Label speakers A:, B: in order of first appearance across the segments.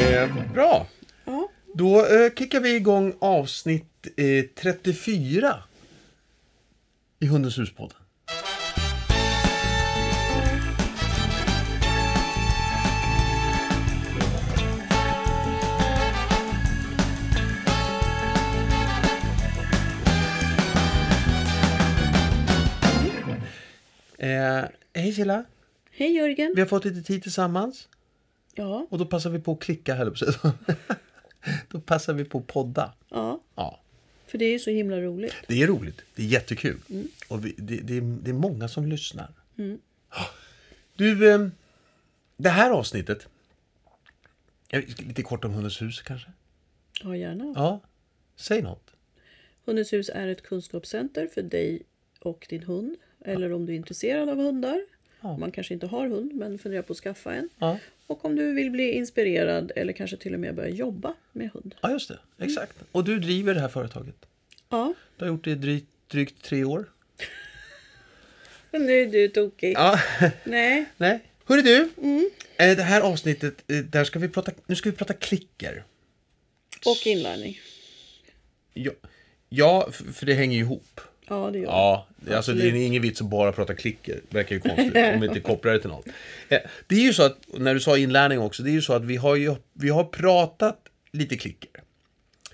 A: Eh, då eh, kickar vi igång avsnitt eh, 34 i Hundens hus-podden. Eh, hej Cilla,
B: Hej Jörgen.
A: vi har fått lite tid tillsammans.
B: Ja,
A: Och då passar vi på att klicka här uppe. Då passar vi på att podda.
B: ja,
A: Ja,
B: för det är ju så himla roligt.
A: det är roligt. Det är jättekul. Och vi, det, det, är- det är många som lyssnar. Ja. Du, eh, det här avsnittet. eh, Lite kort om Hundens hus kanske?
B: Ja, gärna.
A: Ja, säg något.
B: Hundens hus är ett kunskapscenter för dig och din hund. Eller om du är intresserad av hundar.
A: Ja.
B: Man kanske inte har hund men funderar på att skaffa en.
A: Ja,
B: Och om du vill bli inspirerad eller kanske till och med börja jobba med hund.
A: ja just det. Exakt. Och du driver det här företaget.
B: Ja,
A: Du har gjort det i drygt, drygt tre år.
B: men nu är du tokig.
A: Ja,
B: Nej,
A: nej. Hörru du, eh, det här avsnittet, eh, där ska vi prata, nu ska vi prata klicker.
B: och inlärning.
A: Ja, ja, f- för det hänger ju ihop.
B: Ja, det gör jag.
A: Ja, det- alltså det är ingen vits att bara prata klicker. Verkar ju konstigt om vi inte kopplar det till något. Eh, Det är ju så att, när du sa inlärning också, det är ju så att vi har ju vi har pratat lite klicker.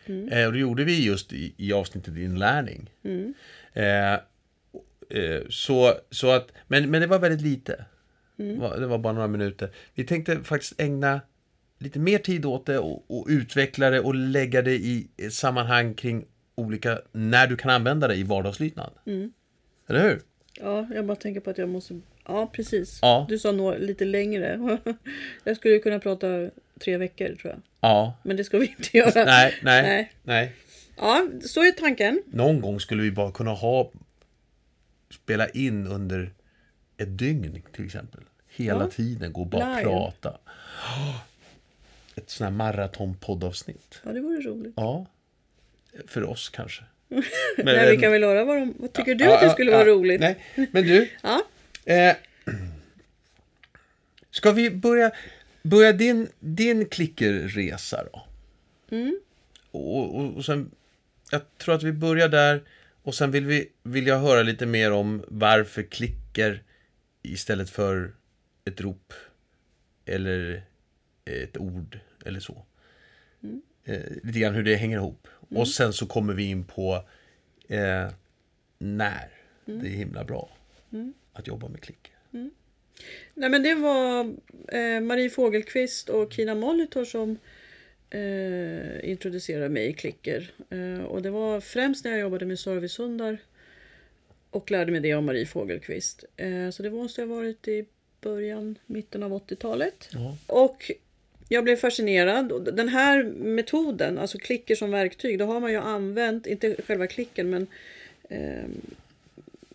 A: Eh, Och det gjorde vi just i, i avsnittet inlärning. Eh, eh, så, så att, men, men det var väldigt lite. Va- Det var bara några minuter. Vi tänkte faktiskt ägna lite mer tid åt det och, och utveckla det och lägga det i ett sammanhang kring olika, när du kan använda det i vardagslydnad. Eller hur?
B: Ja, jag bara tänker på att jag måste... Ja, precis.
A: Ja.
B: Du sa nå lite längre. jag skulle kunna prata tre veckor tror jag.
A: Ja.
B: Men det ska vi inte göra.
A: Nej, nej, nej.
B: Nej. Ja, så är tanken.
A: Någon gång skulle vi bara kunna ha spela in under ett dygn till exempel. Hela tiden gå och bara
B: Live.
A: prata. Ett sånt här maratonpoddavsnitt.
B: Ja, det vore roligt.
A: Ja. För oss kanske. Men,
B: Nej, vi kan väl höra vad de... Vad tycker du
A: Ja,
B: att det
A: ja,
B: skulle
A: ja.
B: vara roligt?
A: Nej, men du.
B: Ja,
A: Eh, ska vi börja, börja din, din klickerresa då? Och, och, och sen, jag tror att vi börjar där och sen vill, vi, vill jag höra lite mer om varför klicker istället för ett rop eller ett ord eller så. Eh, lite grann hur det hänger ihop. Och sen så kommer vi in på eh, när det är himla bra att jobba med klick.
B: Nej, men det var eh, Marie Fogelqvist och Kina Molitor som eh, introducerade mig i Klicker. Eh, och det var främst när jag jobbade med servicehundar och lärde mig det av Marie Fogelqvist. Eh, så det måste ha varit i början, mitten av 80-talet.
A: Ja.
B: Och jag blev fascinerad. Och Den här metoden, alltså klicker som verktyg, det har man ju använt, inte själva klicken men eh,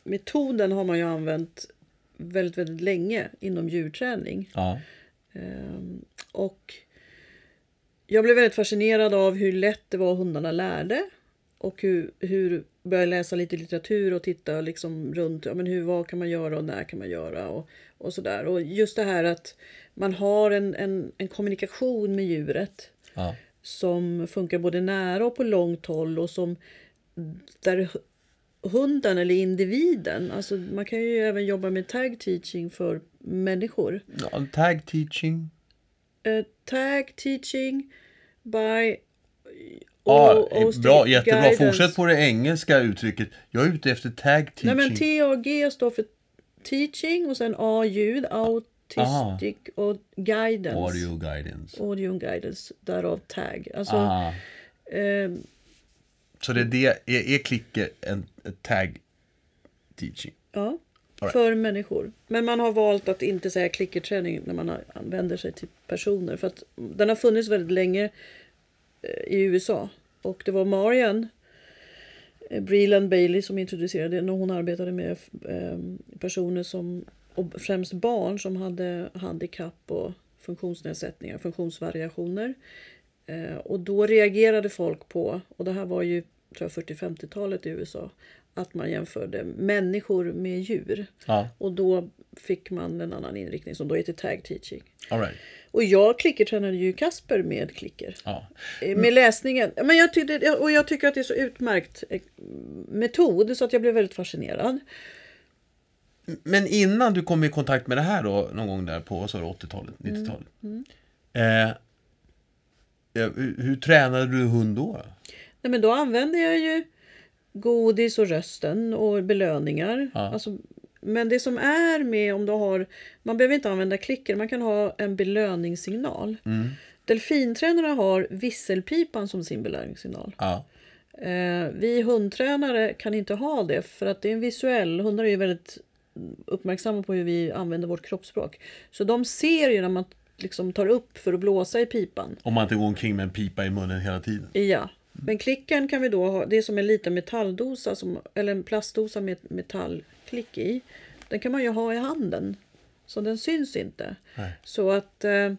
B: metoden har man ju använt väldigt, väldigt länge inom djurträning.
A: Ja.
B: Ehm, Och jag blev väldigt fascinerad av hur lätt det var hundarna lärde. Och hur, hur började läsa lite litteratur och titta liksom runt. Ja, men hur, vad kan man göra och när kan man göra och, och sådär. Och just det här att man har en, en, en kommunikation med djuret
A: ja.
B: som funkar både nära och på långt håll och som där hu- hunden eller individen, alltså man kan ju även jobba med tag teaching för människor.
A: Tag teaching.
B: Eh, tag teaching by
A: Ja,
B: OOC
A: Ah, bra, jättebra.
B: guidance.
A: Fortsätt på det engelska uttrycket. Jag är ute efter tag teaching.
B: Nej men TAG står för teaching och sen A-ljud, autistic och guidance.
A: Audio guidance.
B: Audio and guidance, därav tag. Alltså,
A: Ah.
B: ehm,
A: Så det är det, är, är klicker en en tag teaching?
B: Ja,
A: All right.
B: för människor. Men man har valt att inte säga klickerträning när man har- använder sig till personer. För att den har funnits väldigt länge eh, i USA. Och det var Marian eh, Breland Bailey som introducerade den och hon arbetade med f- ehm, personer som, och främst barn som hade handikapp och funktionsnedsättningar, funktionsvariationer. Eh, Och då reagerade folk på, och det här var ju tror jag 40-50-talet i USA, att man jämförde människor med djur.
A: Ja,
B: Och då fick man en annan inriktning som då heter tag teaching.
A: all right.
B: Och jag klickertränade ju Kasper med klicker.
A: Ja.
B: Eh, Med läsningen. Men jag tyckte, och jag tycker att det är så utmärkt eh, metod så att jag blev väldigt fascinerad.
A: Men innan du kom i kontakt med det här då, någon gång där på vad sa du, 80-talet,
B: Mm,
A: 90-talet. Eh, eh, hur, hur tränade du hund då?
B: Nej, men då använde jag ju godis och rösten och belöningar.
A: Ja.
B: Alltså, men det som är med om du har, man behöver inte använda klicker, man kan ha en belöningssignal. Delfintränarna har visselpipan som sin belöningssignal.
A: Ja,
B: Eh, vi hundtränare kan inte ha det för att det är en visuell, hundar är ju väldigt uppmärksamma på hur vi använder vårt kroppsspråk. Så de ser ju när man liksom tar upp för att blåsa i pipan.
A: om man inte går omkring med en pipa i munnen hela tiden.
B: Ja, men klicken kan vi då ha. Det är som en liten metalldosa som, eller en plastdosa med ett metallklick i. Den kan man ju ha i handen. Så den syns inte. Så att... Eh,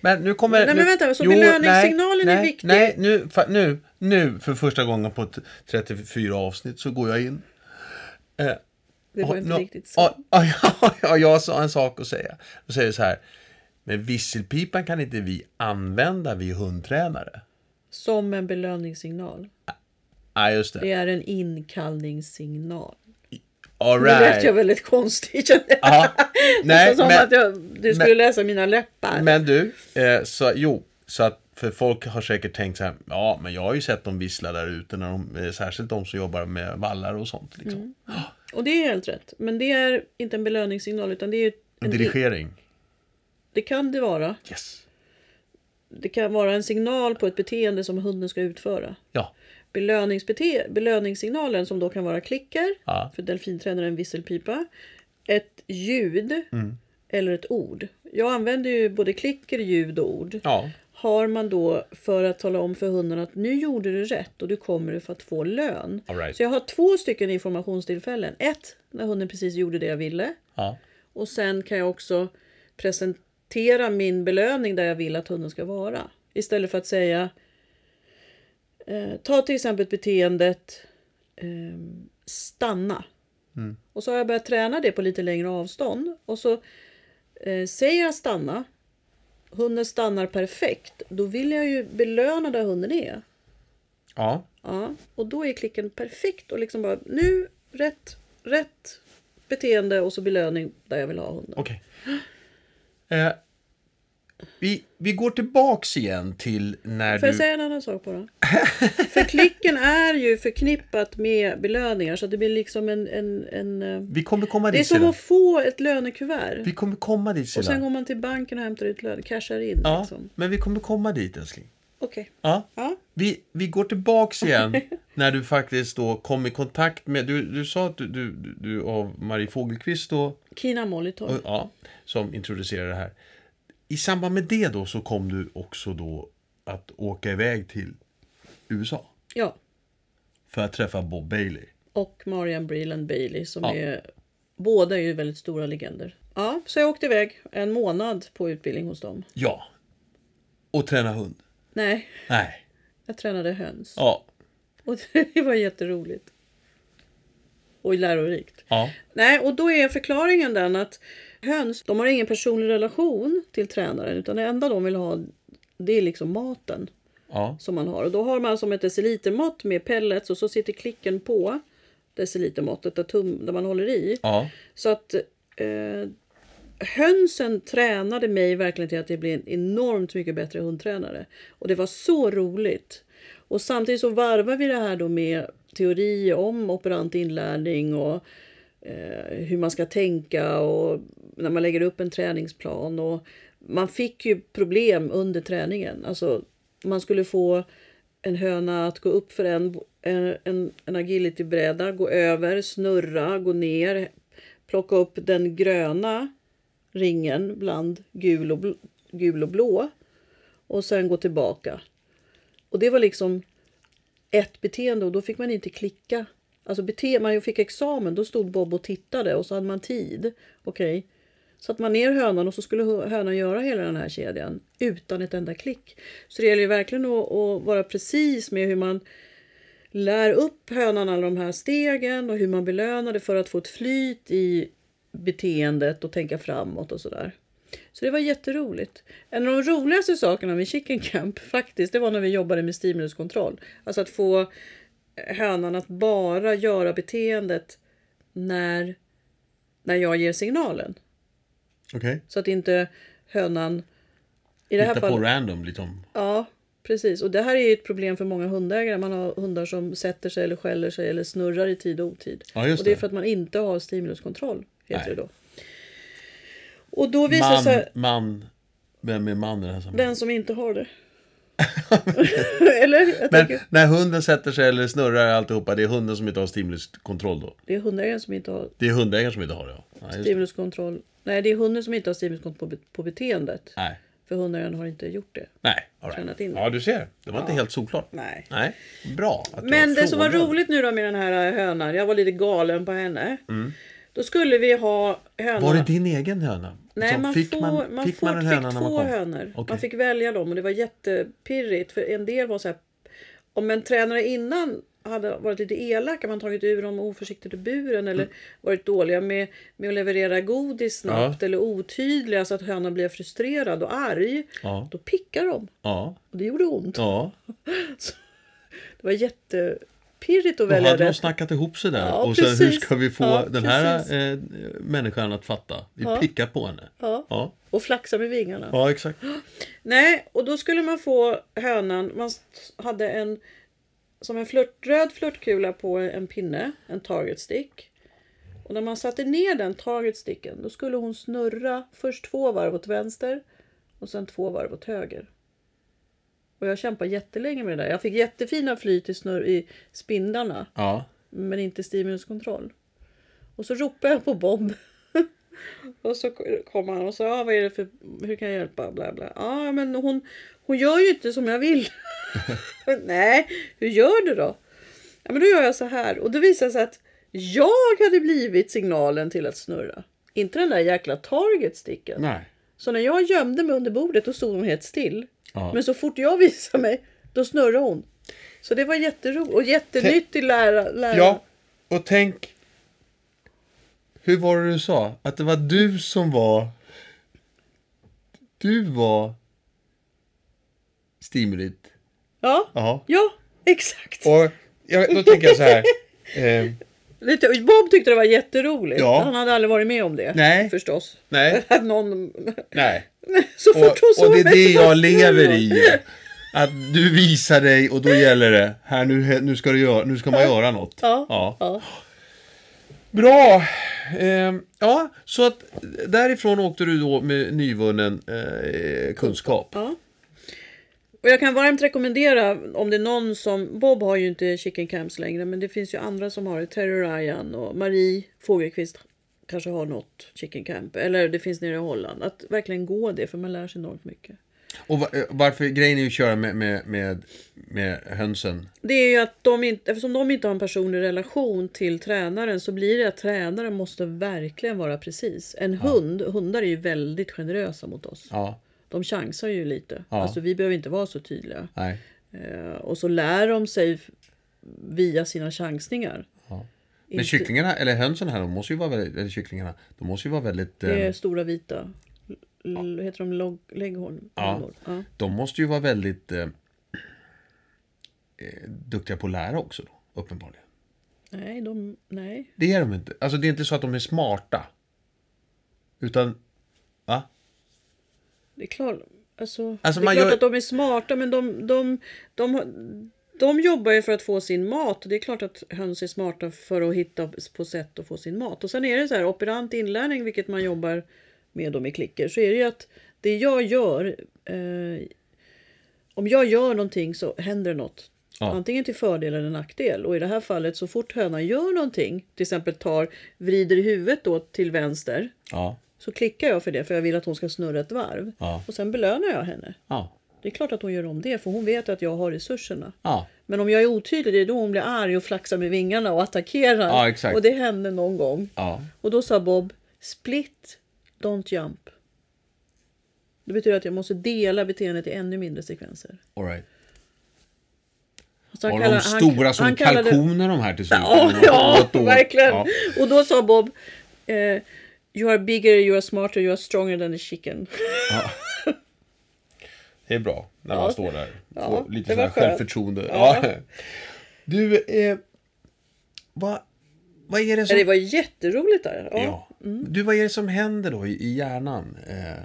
A: Men nu kommer...
B: Nej, men
A: nu,
B: vänta, så belöningssignalen
A: nej,
B: är
A: nej,
B: viktig.
A: Nej, nu, fa- nu, nu för första gången på ett 34 avsnitt så går jag in. Eh,
B: det var
A: Ja,
B: inte
A: nå-
B: riktigt så.
A: Ja, ja, ja, ja, jag har en sak att säga. Då säger jag så här. Men visselpipan kan inte vi använda, vi hundtränare.
B: Som en belöningssignal.
A: Nej, just det.
B: Det är en inkallningssignal.
A: All
B: Nu lät jag
A: right.
B: väldigt konstig kände jag.
A: Ja, nej,
B: Nästan som
A: men,
B: att jag, du skulle läsa mina läppar.
A: men du. Eh, så, jo, så att för folk har säkert tänkt så här. Ja, men jag har ju sett dem vissla där ute. När de, eh, särskilt de som jobbar med vallar och sånt. Liksom.
B: Mm. Och det är helt rätt. Men det är inte en belöningssignal utan det är ju...
A: En
B: En,
A: dirigering.
B: det kan det vara.
A: Yes.
B: Det kan vara en signal på ett beteende som hunden ska utföra.
A: Ja.
B: Belöningsbete- belöningssignalen som då kan vara klicker,
A: Ja.
B: för delfintränare är en visselpipa, ett ljud
A: Mm.
B: eller ett ord. Jag använder ju både klicker, ljud och ord.
A: Ja.
B: Har man då för att tala om för hunden att nu gjorde du rätt och du kommer du för att få lön.
A: All right.
B: Så jag har två stycken informationstillfällen. Ett, när hunden precis gjorde det jag ville.
A: Ja.
B: Och sen kan jag också presentera min belöning där jag vill att hunden ska vara. Istället för att säga eh, Ta till exempel beteendet ehm, stanna. Och så har jag börjat träna det på lite längre avstånd. Och så eh, säger jag stanna. Hunden stannar perfekt. Då vill jag ju belöna där hunden är.
A: Ja.
B: Ja, och då är klicken perfekt och liksom bara nu rätt, rätt beteende och så belöning där jag vill ha hunden.
A: Okej. Eh, vi, vi går tillbaks igen till när du...
B: Får jag säga en annan sak bara? För klicken är ju förknippat med belöningar så att det blir liksom en... en, en eh,
A: Vi kommer komma
B: det är
A: dit
B: som
A: sedan.
B: att få ett lönekuvert.
A: Vi kommer komma dit
B: Och sen
A: sedan.
B: går man till banken och hämtar ut lön, cashar in.
A: Ja,
B: Liksom.
A: men vi kommer komma dit älskling.
B: Okej.
A: Ja.
B: Ja.
A: Vi, vi går tillbaks igen när du faktiskt då kom i kontakt med... Du, du sa att du, du, du- du av Marie Fogelqvist då,
B: Kina Molitor.
A: och, ja, som introducerade det här. I samband med det då så kom du också då att åka iväg till USA
B: Ja.
A: för att träffa Bob Bailey.
B: Och Marian Breland Bailey som
A: Ja.
B: är... Båda är ju väldigt stora legender. Ja, så jag åkte iväg en månad på utbildning hos dem.
A: Ja. Och träna hund.
B: Nej,
A: Nej.
B: jag tränade höns.
A: Ja.
B: Och det var jätteroligt. Och lärorikt.
A: Ja.
B: Nej, och då är förklaringen den att höns, de har ingen personlig relation till tränaren utan det enda de vill ha det är liksom maten
A: Ja.
B: som man har. Och då har man alltså som ett decilitermått med pellets och så sitter klicken på decilitermåttet där, tum, där man håller i.
A: Ja.
B: Så att eh, hönsen tränade mig verkligen till att jag blev en enormt mycket bättre hundtränare. Och det var så roligt. Och samtidigt så varvar vi det här då med teori om operant inlärning och eh, hur man ska tänka och när man lägger upp en träningsplan. Och man fick ju problem under träningen. Alltså, man skulle få en höna att gå upp för en, en, en, en agilitybräda, gå över, snurra, gå ner, plocka upp den gröna ringen bland gul och, bl- gul och blå och sen gå tillbaka. Och det var liksom ett beteende och då fick man inte klicka. Alltså bete- man fick examen, då stod Bob och tittade och så hade man tid. Okej. Satte man ner hönan och så skulle hö- hönan göra hela den här kedjan utan ett enda klick. Så det gäller ju verkligen att, att vara precis med hur man lär upp hönan alla de här stegen och hur man belönar det för att få ett flyt i beteendet och tänka framåt och sådär. Så det var jätteroligt. En av de roligaste sakerna med Chicken Camp faktiskt, det var när vi jobbade med stimuluskontroll. Alltså att få hönan att bara göra beteendet när, när jag ger signalen.
A: Okej.
B: Så att inte hönan... I det här
A: Hitta på
B: fallet,
A: random liksom.
B: Ja, precis. Och det här är ju ett problem för många hundägare. Man har hundar som sätter sig eller skäller sig eller snurrar i tid och otid.
A: Ja, just
B: och det är
A: det.
B: för att man inte har stimuluskontroll, heter
A: Nej.
B: det då. Och då visar
A: Man,
B: sig
A: man. Vem är man i det här sammanhanget?
B: den som inte har det. eller? Jag
A: Men
B: tänker,
A: när hunden sätter sig eller snurrar alltihopa, det är hunden som inte har stimuluskontroll då?
B: det är hundägaren som inte har
A: Det är hundägaren som inte har det? Ja. Nej, just, det.
B: stimuluskontroll. Nej, det är hunden som inte har stimuluskontroll på, be- på beteendet.
A: nej.
B: För hundägaren har inte gjort det.
A: nej. all Right.
B: Tränat in.
A: Ja, du ser. Det var inte helt solklart.
B: Nej.
A: Nej. Bra att du
B: Men det som var
A: frågade.
B: roligt nu då med den här hönan, jag var lite galen på henne. Då skulle vi ha hönan.
A: Mm. Var det din egen höna?
B: Nej,
A: Som-
B: man,
A: Liksom, fick
B: får,
A: man,
B: man,
A: fick
B: får,
A: man en
B: fick
A: höna när man
B: två
A: kom?
B: hönor.
A: Okej.
B: Man fick välja dem och det var jättepirrigt. För en del var så här, om en tränare innan hade varit lite elak, hade man tagit ur dem oförsiktigt ur
A: Mm.
B: buren eller varit dåliga med, med att leverera godis snabbt eller otydliga så att hönan blev frustrerad och arg.
A: Ja.
B: Då pickar de
A: Ja.
B: och det gjorde ont.
A: ja.
B: Det var jättepirrigt
A: Då
B: att välja
A: hade de
B: rätt.
A: snackat ihop sig där.
B: Ja,
A: och sen hur
B: precis.
A: ska vi få
B: Ja,
A: den här eh, människan att fatta? Vi pickar på henne.
B: Ja.
A: Ja,
B: Och flaxa med vingarna.
A: ja exakt.
B: Nej, och då skulle man få hönan, man st- hade en som en flört, röd flörtkula på en pinne, en target stick. Och när man satte ner den target sticken då skulle hon snurra först två varv åt vänster och sen två varv åt höger. Och jag kämpade jättelänge med det där. Jag fick jättefina flyt i, snurr, i spindlarna
A: Ja.
B: men inte stimuluskontroll. Och så ropade jag på Bob. och så kom han och sa, ah, vad är det för, hur kan jag hjälpa? Bla, bla. Ja, men hon, hon gör ju inte som jag vill. Nej, hur gör du då? Ja, men då gör jag så här. Och det visade sig att jag hade blivit signalen till att snurra. Inte den där jäkla targetsticken.
A: Nej.
B: Så när jag gömde mig under bordet då stod hon helt still.
A: Ja.
B: Men så fort jag visade mig, då snurrade hon. Så det var jätteroligt och jättenyttig lära. lära.
A: ja, och tänk. Hur var det du sa? Att det var du som var... Du var stimulit.
B: Ja,
A: Ja.
B: ja exakt.
A: Och jag, då tänker jag så här. Eh,
B: Lite, Bob tyckte det var jätteroligt.
A: Ja.
B: Han hade aldrig varit med om det.
A: Nej.
B: Förstås.
A: nej,
B: Att någon...
A: nej.
B: Så fort hon
A: Och,
B: såg
A: och det är
B: mig
A: det
B: så var
A: jag lever
B: hon
A: i. Att du visar dig och då gäller det. Här nu, nu, ska, du göra, nu ska man göra något.
B: Ja, ja.
A: Bra! Ehm, ja, så att därifrån åkte du då med nyvunnen eh, kunskap.
B: Ja. Och jag kan varmt rekommendera om det är någon som... Bob har ju inte Chicken Camps längre men det finns ju andra som har det. Terry Ryan och Marie Fogelqvist kanske har något Chicken Camp. Eller det finns nere i Holland. Att verkligen gå det för man lär sig enormt mycket.
A: Och va- eh, varför, grejen är ju att köra med, med, med, med hönsen.
B: Det är ju att de inte, eftersom de inte har en personlig relation till tränaren så blir det att tränaren måste verkligen vara precis. En hund, hundar är ju väldigt generösa mot oss.
A: Ja,
B: De chansar ju lite.
A: Ja.
B: Alltså vi behöver inte vara så tydliga.
A: nej.
B: Eh, och så lär de sig via sina chansningar.
A: Ja. Men
B: Inte-
A: kycklingarna, eller hönsen här, de måste ju vara väldigt, eller kycklingarna, de måste ju vara väldigt...
B: Det är
A: Eh,
B: stora vita, l- heter de log, leghorn?
A: Ja.
B: ja.
A: de måste ju vara väldigt eh, eh, duktiga på att lära också, då, uppenbarligen.
B: Nej, de, nej.
A: Det är de inte. Alltså det är inte så att de är smarta. Utan, va?
B: Det är klart, alltså,
A: Alltså,
B: det är
A: man
B: klart
A: gör-
B: att de är smarta men de, de, de, de, de jobbar ju för att få sin mat. Det är klart att höns är smarta för att hitta på sätt att få sin mat. Och sen är det så här operant inlärning, vilket man jobbar med dem i klicker, så är det ju att det jag gör, eh, om jag gör någonting så händer något.
A: Ja.
B: Antingen till fördel eller nackdel. Och i det här fallet så fort hönan gör någonting, till exempel tar, vrider huvudet då till vänster,
A: Ja.
B: så klickar jag för det för jag vill att hon ska snurra ett varv.
A: Ja.
B: Och sen belönar jag henne.
A: Ja.
B: Det är klart att hon gör om det för hon vet att jag har resurserna.
A: Ja.
B: Men om jag är otydlig det är då hon blir arg och flaxar med vingarna och attackerar.
A: Ja, exakt.
B: Och det hände någon gång.
A: Ja.
B: Och då sa Bob split, don't jump. Det betyder att jag måste dela beteendet i ännu mindre sekvenser.
A: All right.
B: Så han
A: Var
B: kallar-
A: de stora
B: han,
A: som
B: han kallade-
A: kalkoner de här till slut?
B: Ja,
A: De var
B: ja
A: åt- åt-
B: verkligen.
A: ja.
B: Och då sa Bob, eh, you are bigger, you are smarter, you are stronger than a chicken.
A: Det är bra när man
B: Ja.
A: står där. Får
B: Ja,
A: lite
B: det
A: sån här
B: var skönt.
A: självförtroende. Ja.
B: Ja.
A: Du, eh, vad, vad är det
B: Ja,
A: som...
B: Det var jätteroligt där. Ja.
A: Ja.
B: Mm.
A: Du, vad är det som händer då i i hjärnan? Eh,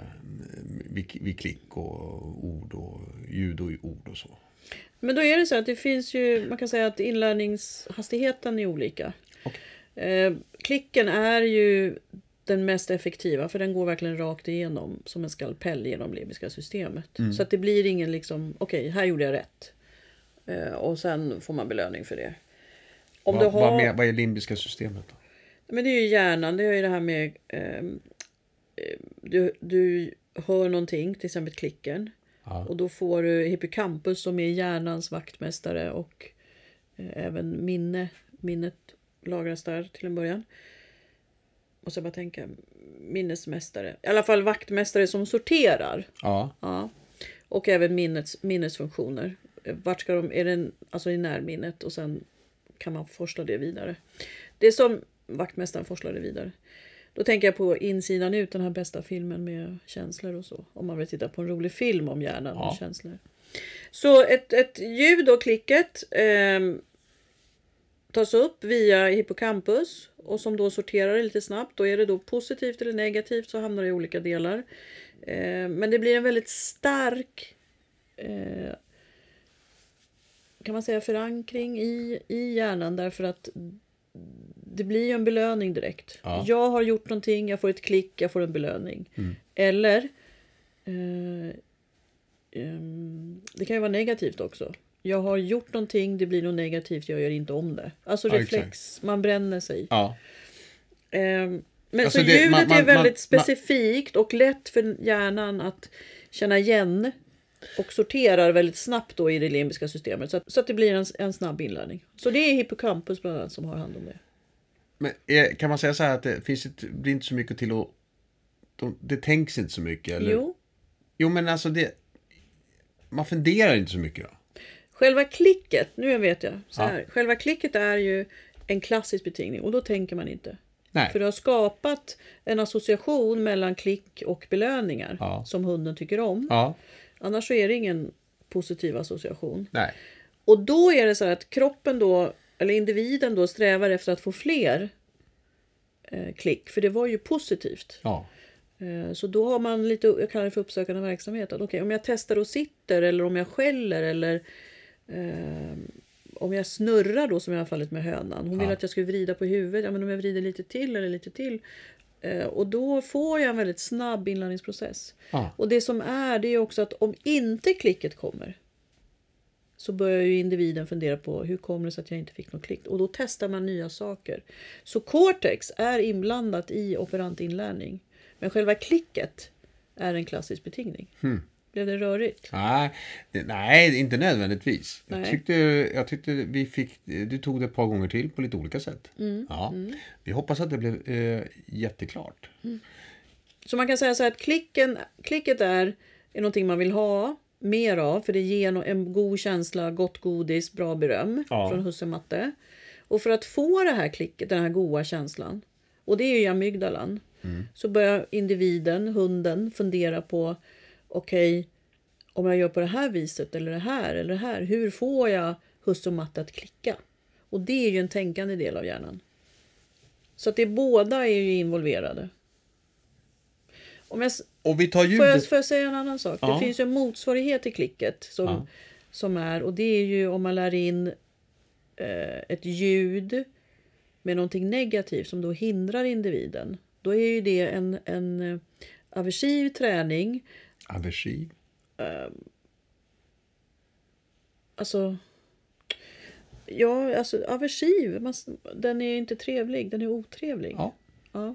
A: vid, vid klick och ord och ljud och ord och så.
B: Men då är det så att det finns ju, man kan säga att inlärningshastigheten är olika.
A: Okej.
B: Eh, klicken är ju den mest effektiva för den går verkligen rakt igenom som en skalpell genom limbiska systemet. Så att det blir ingen liksom, okej, här gjorde jag rätt. Eh, och sen får man belöning för det. Om
A: Vad-
B: du har...
A: vad, med, vad är limbiska systemet? Då?
B: Men det är ju hjärnan, det är ju det här med... ehm, eh, du, du hör någonting, till exempel klicken.
A: Ja.
B: Och då får du hippocampus som är hjärnans vaktmästare och eh, även minne. Minnet lagras där till en början. Och så bara tänka, minnesmästare. I alla fall vaktmästare som sorterar.
A: Ja.
B: Ja. Och även minnets, minnesfunktioner. Eh, Vart ska de, är det en, alltså i närminnet och sen kan man forsla det vidare. Det som vaktmästaren forslade vidare. Då tänker jag på insidan ut, den här bästa filmen med känslor och så. Om man vill titta på en rolig film om hjärnan
A: Ja.
B: och känslor. Så ett, ett ljud och klicket ehm, tas upp via hippocampus och som då sorterar det lite snabbt. Då är det då positivt eller negativt så hamnar det i olika delar. Eh, men det blir en väldigt stark eh, kan man säga förankring i, i hjärnan därför att det blir ju en belöning direkt.
A: Ja. Mm.
B: Jag har gjort någonting, jag får ett klick, jag får en belöning. Eller eh, ehm, det kan ju vara negativt också. Jag har gjort någonting, det blir något negativt, jag gör inte om det. Alltså
A: Ja,
B: reflex, man bränner sig.
A: ja.
B: Ehm, men
A: Alltså
B: så
A: det-
B: ljudet
A: man- man-
B: är väldigt
A: man-
B: specifikt och lätt för hjärnan att känna igen och sorterar väldigt snabbt då i det limbiska systemet så att, så att det blir en, en snabb inlärning. Så det är hippocampus bland annat som har hand om det.
A: Men är, kan man säga så här att det finns ett, blir inte så mycket till att... De, det tänks inte så mycket? Eller?
B: Jo,
A: Jo, men alltså det... Man funderar inte så mycket då?
B: själva klicket, nu vet jag, så
A: Ja.
B: här, själva klicket är ju en klassisk betingning och då tänker man inte.
A: Nej.
B: För du har skapat en association mellan klick och belöningar
A: Ja.
B: som hunden tycker om.
A: Ja.
B: Annars så är det ingen positiv association.
A: Nej.
B: Och då är det så här att kroppen då, eller individen då strävar efter att få fler eh, klick, för det var ju positivt.
A: Ja.
B: Eh, så då har man lite, jag kallar det för uppsökande verksamhet. Att, okej, om jag testar och sitter eller om jag skäller eller eh, om jag snurrar då som i alla fallet med hönan. Hon
A: Ja.
B: ville att jag skulle vrida på huvudet. Ja, men om jag vrider lite till eller lite till. Eh, och då får jag en väldigt snabb inlärningsprocess.
A: Ja.
B: Och det som är det är också att om inte klicket kommer så börjar ju individen fundera på hur kommer det sig att jag inte fick något klick? Och då testar man nya saker. Så cortex är inblandat i operant inlärning. Men själva klicket är en klassisk betingning. Blev det rörigt?
A: Nej, det- nej, inte nödvändigtvis. Jag
B: Nej.
A: tyckte, jag tyckte vi fick, du tog det ett par gånger till på lite olika sätt.
B: Mm,
A: Ja. Vi hoppas att det blev eh, jätteklart.
B: Så man kan säga så här att klicken, klicket är, är någonting man vill ha mer av för det ger no- en god känsla, gott godis, bra beröm
A: Ja.
B: från husse matte. Och för att få det här klicket, den här goda känslan, och det är ju i amygdalan, så börjar individen, hunden, fundera på okej, om jag gör på det här viset eller det här eller det här, hur får jag husse och matte att klicka? Och det är ju en tänkande del av hjärnan. Så att det båda är ju involverade. Om jag, s-
A: Och vi tar
B: får, jag,
A: ljudet.
B: får jag säga en annan sak?
A: Ja.
B: Det finns ju en motsvarighet till klicket som,
A: Ja.
B: som är och det är ju om man lär in eh, ett ljud med någonting negativt som då hindrar individen. Då är ju det en, en eh, aversiv träning.
A: Aversiv.
B: Alltså, ja, alltså aversiv, man, s- den är inte trevlig, den är otrevlig.
A: Ja.
B: Ja.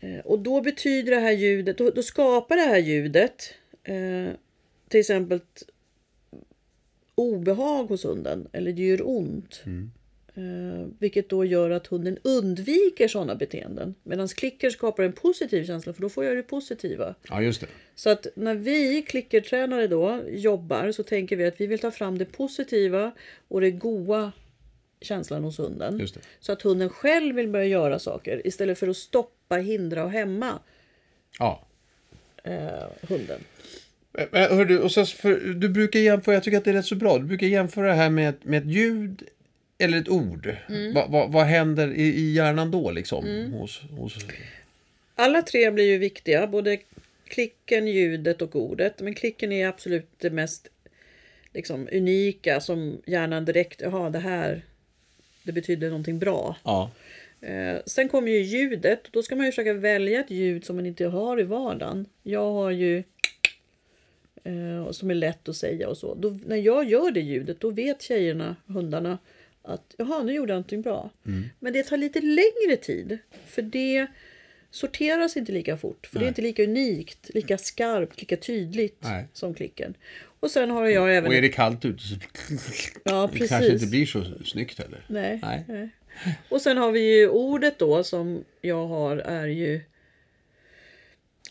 B: Eh, Och då betyder det här ljudet, då, då skapar det här ljudet eh,
A: Mm.
B: till exempel ett obehag hos hunden eller det gör ont. Eh, vilket då gör att hunden undviker sådana beteenden. Medan klicker skapar en positiv känsla för då får jag det positiva.
A: Ja, just det.
B: Så att när vi klickertränare då jobbar så tänker vi att vi vill ta fram det positiva och det goa känslan hos hunden.
A: Just det.
B: Så att hunden själv vill börja göra saker istället för att stoppa, hindra och hämma
A: Ja.
B: eh, hunden.
A: Eh, eh, Hör du, och sen, för, du brukar jämföra, jag tycker att det är rätt så bra, du brukar jämföra det här med, ett- med ett ljud eller ett ord. Va, va, vad händer i, i hjärnan då liksom? Hos, hos...
B: Alla tre blir ju viktiga, både klicken, ljudet och ordet. Men klicken är absolut det mest liksom, unika som hjärnan direkt, jaha det här, det betyder någonting bra.
A: Ja.
B: Eh, sen kommer ju ljudet. Då ska man ju försöka välja ett ljud som man inte har i vardagen. Jag har ju eh, och som är lätt att säga och så. Då, när jag gör det ljudet då vet tjejerna, hundarna att jaha, nu gjorde jag någonting bra.
A: Mm.
B: Men det tar lite längre tid för det sorteras inte lika fort. För det är inte lika unikt, lika skarpt, lika tydligt
A: Nej.
B: som klicken. Och sen har jag även...
A: Och är det kallt ute så
B: Ja,
A: det kanske
B: precis.
A: inte blir så snyggt heller.
B: Nej.
A: Nej.
B: Och sen har vi ju ordet då som jag har är ju...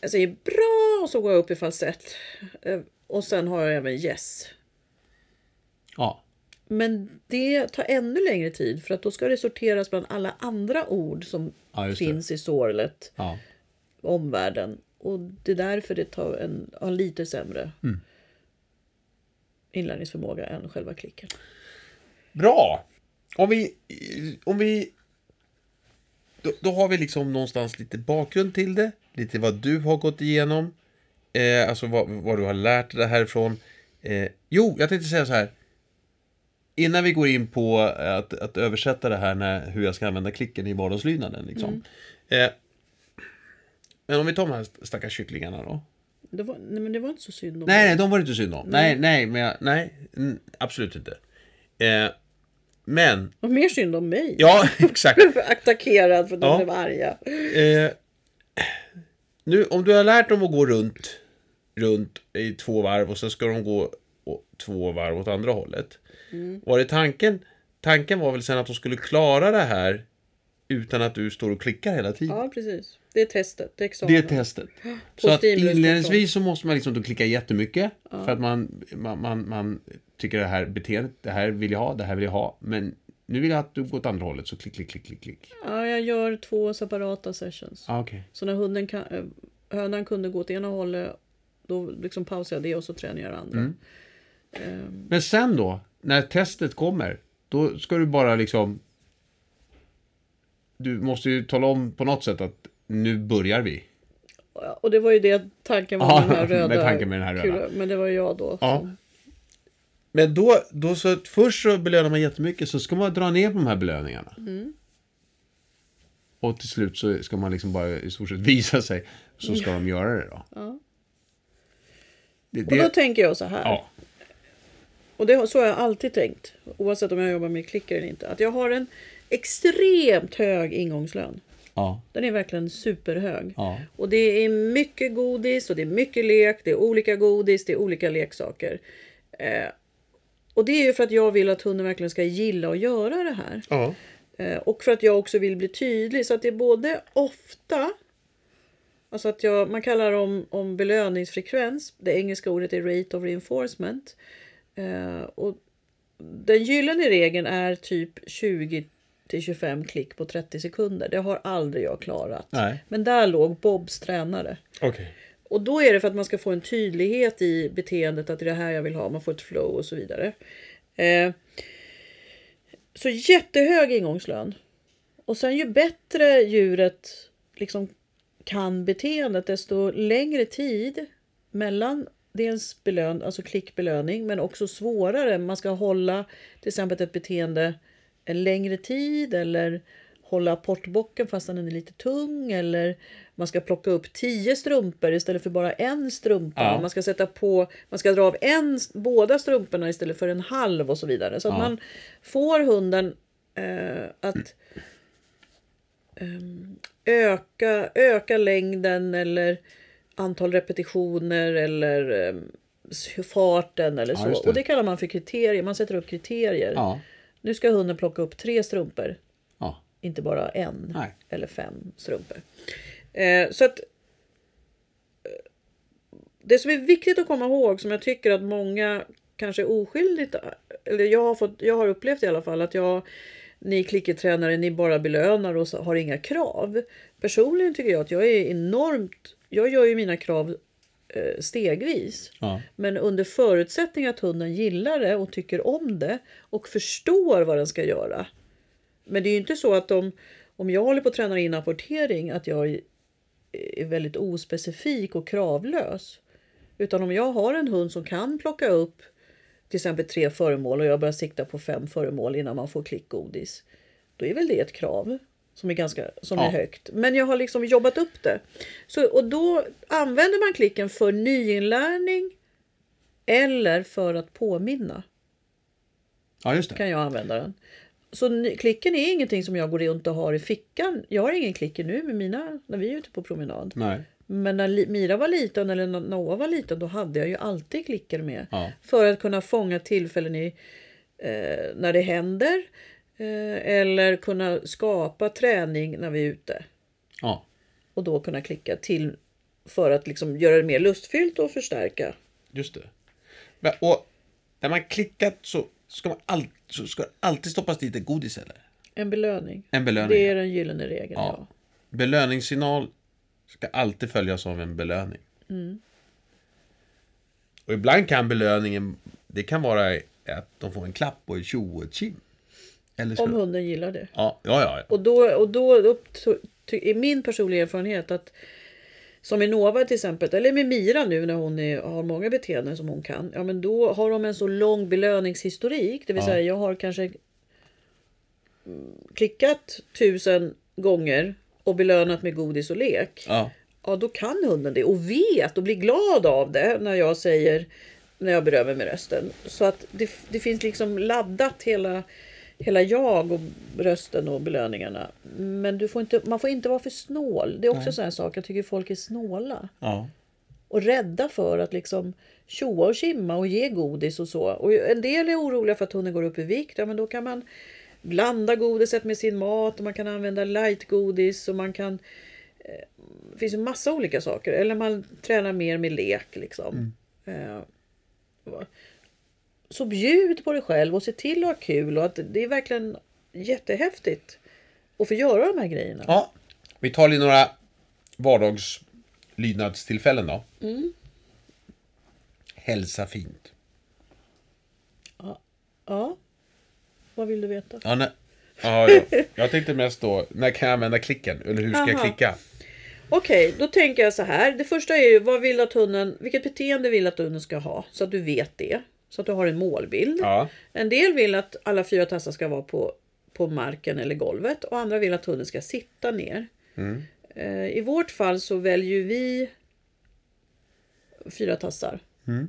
B: Jag säger bra och så går jag upp i falsett. Eh, Och sen har jag även yes.
A: Ja.
B: Men det tar ännu längre tid för att då ska det sorteras bland alla andra ord som
A: Ja, just det.
B: finns i sorlet,
A: ja.
B: omvärlden. Och det är därför det tar en, har lite sämre
A: Mm.
B: inlärningsförmåga än själva klicken.
A: Bra! Om vi... Om vi då, då har vi liksom någonstans lite bakgrund till det. Lite vad du har gått igenom. Eh, alltså vad, vad du har lärt dig härifrån. Eh, jo, jag tänkte säga så här. Innan vi går in på att, att översätta det här när, hur jag ska använda klicken i vardagslydnaden. Liksom. Eh, men om vi tar de här stackars kycklingarna då.
B: Det var, nej men det var inte så synd om
A: Nej, nej, de var det inte synd om. Nej, nej, men jag, nej, n- absolut inte. Eh, men,
B: Det var mer synd om mig.
A: ja, exakt.
B: attackerad för att de
A: Ja.
B: blev arga.
A: Eh, nu, om du har lärt dem att gå runt, runt i två varv och sen ska de gå å- två varv åt andra hållet. Var det tanken? Tanken var väl sen att de skulle klara det här utan att du står och klickar hela tiden?
B: Ja, precis. Det är testet. Det är examen.
A: Det är testet. Så att
B: stimulus-
A: inledningsvis så måste man liksom då klicka jättemycket. För att man, man, man, man tycker det här beteendet, det här vill jag ha, det här vill jag ha. Men nu vill jag att du går åt andra hållet, så klick, klick, klick, klick, klick.
B: Ja, jag gör två separata sessions.
A: Ah, okej.
B: Så när hunden kan, eh, hönan kunde gå åt ena hållet, då liksom pausar jag det och så tränar jag det andra.
A: Mm. Men sen då, när testet kommer, då ska du bara liksom... Du måste ju tala om på något sätt att nu börjar vi.
B: Och- Och det var ju det tanken
A: Ja,
B: var med den här röda.
A: med tanken med den här röda.
B: kulan. Men det var ju jag då.
A: Ja. Men då, då så att först så belönar man jättemycket, så ska man dra ner på de här belöningarna. Mm. Och till slut så ska man liksom bara i stort sett visa sig, så ska de göra det då. Det,
B: Och då
A: det,
B: tänker jag så här.
A: ja,
B: Och det, har- så har jag alltid tänkt, oavsett om jag jobbar med klicker eller inte. Att jag har en extremt hög ingångslön.
A: ja,
B: Den är verkligen superhög.
A: Ja.
B: Och det är mycket godis och det är mycket lek, det är olika godis, det är olika leksaker. Eh, och det är ju för att jag vill att hunden verkligen ska gilla att göra det här.
A: ja.
B: Eh, och för att jag också vill bli tydlig. Så att det är både ofta, alltså att jag, man kallar om, om belöningsfrekvens, det engelska ordet är rate of reinforcement. Eh, och den gyllene regeln är typ 20 till 25 klick på 30 sekunder. Det har aldrig jag klarat.
A: Nej.
B: Men där låg Bobs tränare.
A: Okej.
B: Och då är det för att man ska få en tydlighet i beteendet att det är det här jag vill ha, man får ett flow och så vidare. Eh, så jättehög ingångslön. Och sen ju bättre djuret liksom kan beteendet desto längre tid mellan dels belön, alltså klickbelöning men också svårare. Man ska hålla till exempel ett beteende en längre tid eller hålla apportbocken fast den är lite tung eller man ska plocka upp tio strumpor istället för bara en strumpa.
A: Ja.
B: Man ska sätta på, man ska dra av en, båda strumporna istället för en halv och så vidare. Så att
A: Ja.
B: man får hunden eh, att ehm, öka, öka längden eller antal repetitioner eller ehm, s- farten eller
A: Ja,
B: så.
A: just det.
B: Och det kallar man för kriterier. Man sätter upp kriterier.
A: Ja.
B: Nu ska hunden plocka upp tre strumpor,
A: Ja.
B: inte bara en
A: Nej.
B: eller fem strumpor. Eh, så att eh, det som är viktigt att komma ihåg som jag tycker att många kanske oskyldigt, eller jag har, fått, jag har upplevt i alla fall att jag, ni klickertränare, ni bara belönar och så- har inga krav. Personligen tycker jag att jag är enormt, jag gör ju mina krav eh, stegvis.
A: Ja.
B: Men under förutsättning att hunden gillar det och tycker om det och förstår vad den ska göra. Men det är ju inte så att om, om jag håller på att träna in apportering att jag är väldigt ospecifik och kravlös. Utan om jag har en hund som kan plocka upp till exempel tre föremål och jag börjar sikta på fem föremål innan man får klickgodis. Då är väl det ett krav som är ganska som
A: Ja.
B: är högt. Men jag har liksom jobbat upp det. Så, och då använder man klicken för nyinlärning eller för att påminna
A: ja, just det.
B: kan jag använda den. Så ny- klicken är ingenting som jag går runt och har i fickan. Jag har ingen klicker nu med mina när vi är ute på promenad.
A: Nej.
B: Men när Li- Mira var liten eller när Noah var liten då hade jag ju alltid klicker med.
A: Ja.
B: För att kunna fånga tillfällen i, eh, när det händer. Eh, eller kunna skapa träning när vi är ute.
A: Ja.
B: Och då kunna klicka till för att liksom göra det mer lustfyllt och förstärka.
A: Just det. Men, och när man klickat så ska man alltid, så ska det alltid stoppas dit ett godis eller?
B: En belöning.
A: En belöning.
B: Det är den gyllene regeln.
A: ja.
B: Ja.
A: Belöningssignal ska alltid följas av en belöning.
B: Mm.
A: Och ibland kan belöningen, det kan vara att de får en klapp och ett tjo och ett tjim. Eller så.
B: Om hunden gillar det.
A: Ja, ja, ja. ja.
B: Och då, och då upp, ty, är min personliga erfarenhet att som i Nova till exempel, eller med Mira nu när hon är, har många beteenden som hon kan. Ja men då har de en så lång belöningshistorik. Det vill
A: Ja.
B: säga jag har kanske mm, klickat tusen gånger och belönat med godis och lek.
A: ja.
B: Ja då kan hunden det och vet och blir glad av det när jag säger när jag berömmer med rösten. Så att det, det finns liksom laddat hela, hela jag och rösten och belöningarna. Men du får inte, man får inte vara för snål. Det är också en sån här sak. Jag tycker folk är snåla
A: ja.
B: och rädda för att liksom tjoa och kimma och ge godis och så. Och en del är oroliga för att hunden går upp i vikt. Ja, men då kan man blanda godiset med sin mat och man kan använda lightgodis och man kan... eh, Det finns ju massa olika saker. Eller man tränar mer med lek liksom. Eh, va. Så bjud på dig själv och se till att ha kul och att det är verkligen jättehäftigt att få göra de här grejerna.
A: Ja, vi tar lite några vardagslydnadstillfällen då.
B: Mm.
A: Hälsa fint.
B: Ja. Vad vill du veta?
A: Ja, nej. Ja, ja. Jag tänkte mest då, när kan jag använda klicken? Eller hur ska jag
B: Aha.
A: klicka?
B: Okej, då tänker jag så här. Det första är ju vad vill att hunden, vilket beteende vill att hunden ska ha? Så att du vet det. Så att du har en målbild.
A: Ja,
B: En del vill att alla fyra tassar ska vara på, på marken eller golvet och andra vill att hunden ska sitta ner. Eh, I vårt fall så väljer ju vi fyra tassar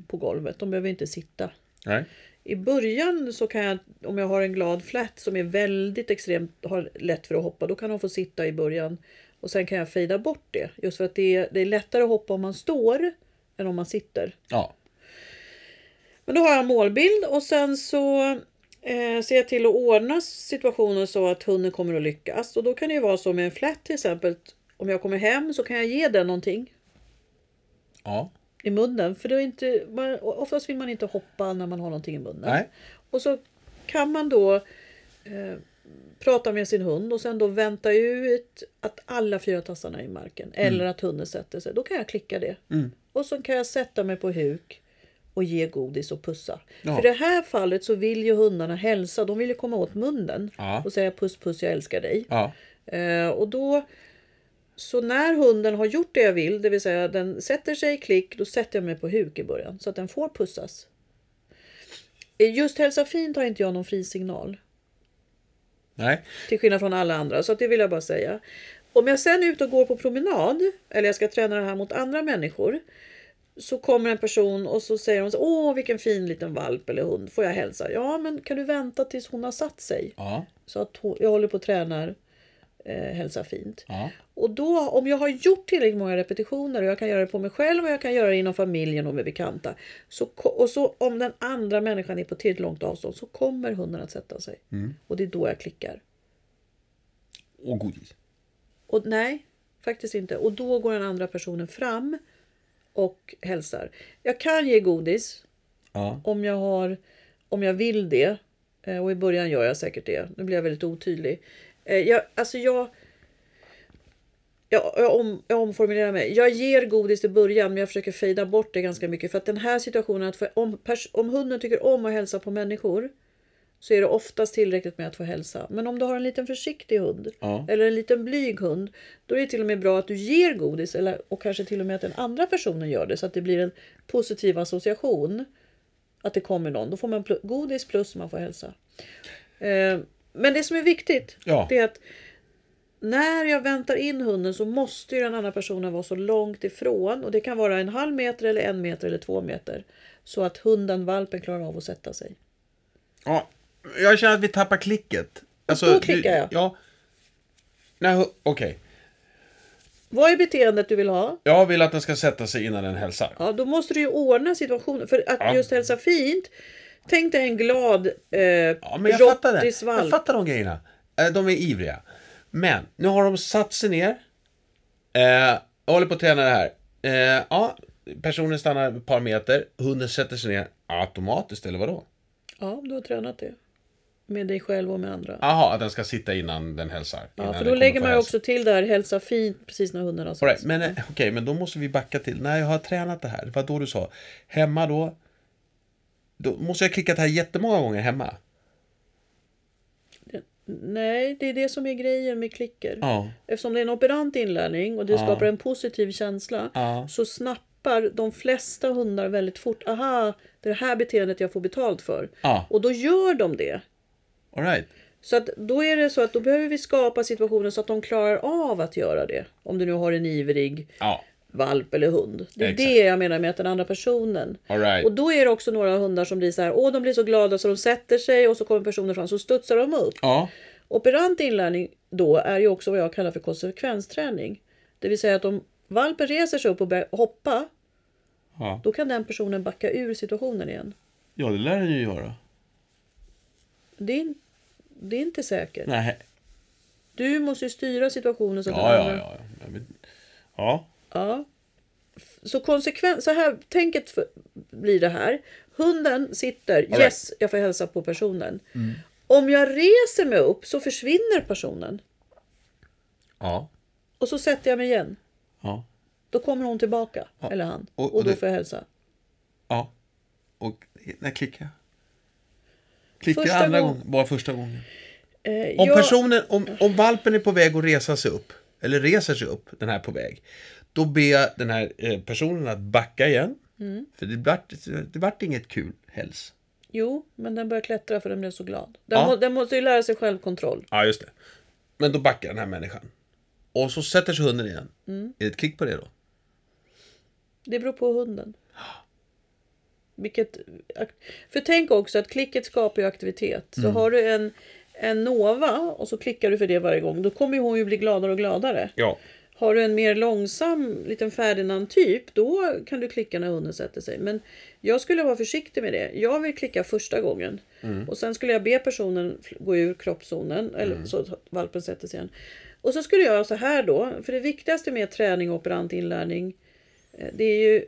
B: på golvet. De behöver inte sitta.
A: nej.
B: I början så kan jag, om jag har en glad flat som är väldigt extremt, har lätt för att hoppa, då kan de få sitta i början. Och sen kan jag fejda bort det. Just för att det är, det är lättare att hoppa om man står än om man sitter.
A: Ja,
B: Men då har jag en målbild och sen så eh, ser jag till att ordna situationen så att hunden kommer att lyckas. Och då kan det ju vara så med en flat till exempel. att Om jag kommer hem så kan jag ge den någonting
A: ja,
B: i munnen. För det är inte, man, oftast vill man inte hoppa när man har någonting i munnen.
A: nej.
B: Och så kan man då eh, prata med sin hund och sen då vänta ut att alla fyra tassarna är i marken.
A: Mm.
B: Eller att hunden sätter sig. Då kan jag klicka det. Och så kan jag sätta mig på huk och ge godis och pussa.
A: Ja.
B: För i det här fallet så vill ju hundarna hälsa. De vill ju komma åt munnen
A: Ja.
B: och säga puss puss jag älskar dig.
A: Ja,
B: Eh, och då, så när hunden har gjort det jag vill, det vill säga den sätter sig i klick, då sätter jag mig på huk i början så att den får pussas. Eh, Just hälsa fint har inte jag någon frisignal,
A: nej.
B: till skillnad från alla andra, så att det vill jag bara säga. Om jag sen är ute och går på promenad, eller jag ska träna det här mot andra människor, så kommer en person och så säger de så, åh vilken fin liten valp eller hund, får jag hälsa? Ja, men kan du vänta tills hon har satt sig?
A: Ja,
B: Så att hon, jag håller på och tränar eh, hälsa fint.
A: Ja.
B: Och då, om jag har gjort tillräckligt många repetitioner och jag kan göra det på mig själv och jag kan göra det inom familjen och med bekanta. Så, ko- och så om den andra människan är på tillräckligt långt avstånd så kommer hunden att sätta sig. Och det är då jag klickar.
A: Och godis.
B: Och nej, faktiskt inte. Och då går den andra personen fram och hälsar. Jag kan ge godis
A: Ja.
B: om jag, har, om jag vill det. Eh, Och i början gör jag säkert det. Nu blir jag väldigt otydlig. Eh, Jag, alltså jag, jag, jag, om, jag omformulerar mig. Jag ger godis i början men jag försöker fejda bort det ganska mycket. För att den här situationen, att få, om, pers, om hunden tycker om att hälsa på människor så är det oftast tillräckligt med att få hälsa. Men om du har en liten försiktig hund
A: Ja.
B: eller en liten blyg hund då är det till och med bra att du ger godis eller, och kanske till och med att den andra personen gör det så att det blir en positiv association att det kommer någon. Då får man pl- godis plus man får hälsa. Eh, men det som är viktigt
A: Ja.
B: det är att när jag väntar in hunden så måste ju den andra personen vara så långt ifrån och det kan vara en halv meter eller en meter eller två meter så att hunden, valpen klarar av att sätta sig.
A: ja. Jag känner att vi tappar klicket.
B: då
A: du-
B: klickar jag.
A: Ja. Nej, hu- okej.
B: Vad är beteendet du vill ha?
A: Jag vill att den ska sätta sig innan den hälsar.
B: Ja, då måste du ju ordna situationen för att
A: Ja.
B: just hälsa fint. Tänk dig en glad eh,
A: Ja, men jag fattar det. Jag fattar de grejerna. Eh, De är ivriga. Men nu har de satt sig ner. Eh, jag håller på att träna det här. Eh, ja, personen stannar ett par meter. Hunden sätter sig ner automatiskt, eller vadå?
B: Ja, du har tränat det. Med dig själv och med andra.
A: Jaha, att den ska sitta innan den hälsar.
B: Ja,
A: innan
B: för
A: den
B: då
A: kommer
B: lägger
A: få
B: man ju
A: hälsa.
B: också till där hälsa fint precis när hunden har satt
A: All right,
B: sig.
A: men eh, okej, men då måste vi backa till. När jag har tränat det här, det var då du sa. Hemma då. Då måste jag klicka det här jättemånga gånger hemma.
B: Nej, det är det som är grejen med klicker.
A: Ja.
B: Eftersom det är en operant inlärning och det skapar en positiv känsla
A: Ja.
B: så snappar de flesta hundar väldigt fort. Aha, det är det här beteendet jag får betalt för.
A: Ja.
B: Och då gör de det.
A: All right.
B: Så att då är det så att då behöver vi skapa situationen så att de klarar av att göra det. Om du nu har en ivrig
A: Ja.
B: valp eller hund. Det är
A: Exakt.
B: det jag menar med att den andra personen.
A: All right.
B: Och då är det också några hundar som blir så här, åh de blir så glada så de sätter sig och så kommer personer fram så studsar de upp.
A: Ja.
B: Operant inlärning då är ju också vad jag kallar för konsekvensträning. Det vill säga att om valpen reser sig upp och börjar hoppa,
A: Ja,
B: då kan den personen backa ur situationen igen.
A: ja det lär den ju göra.
B: Det är, det är inte säkert.
A: Nej.
B: Du måste ju styra situationen så att
A: Ja,
B: den
A: ja,
B: andra-
A: ja. ja. Jag vet- Ja.
B: Ja. Så konsekvent, så här, tänket för, blir det här. Hunden sitter,
A: right. Mm.
B: yes, jag får hälsa på personen. Om jag reser mig upp så försvinner personen
A: Ja.
B: och så sätter jag mig igen.
A: Ja.
B: Då kommer hon tillbaka, eller han,
A: och-
B: och,
A: och
B: då
A: det-
B: får jag hälsa.
A: Ja. Och när klickar jag? Klickar jag
B: Första
A: andra
B: gång-
A: gången? Bara första gången.
B: Eh,
A: Om,
B: jag-
A: personen, om, om valpen är på väg att resa sig upp, eller reser sig upp, den här på väg, då ber jag den här eh, personen att backa igen.
B: Mm.
A: För det vart, det vart inget kul häls.
B: Jo, men den börjar klättra för den blev så glad. Den,
A: Ja.
B: må, den måste ju lära sig självkontroll.
A: Ja, just det. Men då backar den här människan. Och så sätter sig hunden igen.
B: Mm.
A: Är det ett klick på det då?
B: Det beror på hunden. Vilket, för tänk också att klicket skapar ju aktivitet. Så
A: Mm.
B: har du en, en Nova och så klickar du för det varje gång, då kommer ju hon ju bli gladare och gladare.
A: Ja.
B: Har du en mer långsam liten Ferdinand-typ, då kan du klicka när hunden sätter sig. Men jag skulle vara försiktig med det. Jag vill klicka första gången. Och sen skulle jag be personen fl- gå ur kroppszonen, eller så att valpen sätter sig igen. Och så skulle jag göra så här då, för det viktigaste med träning och operant inlärning, eh, det är ju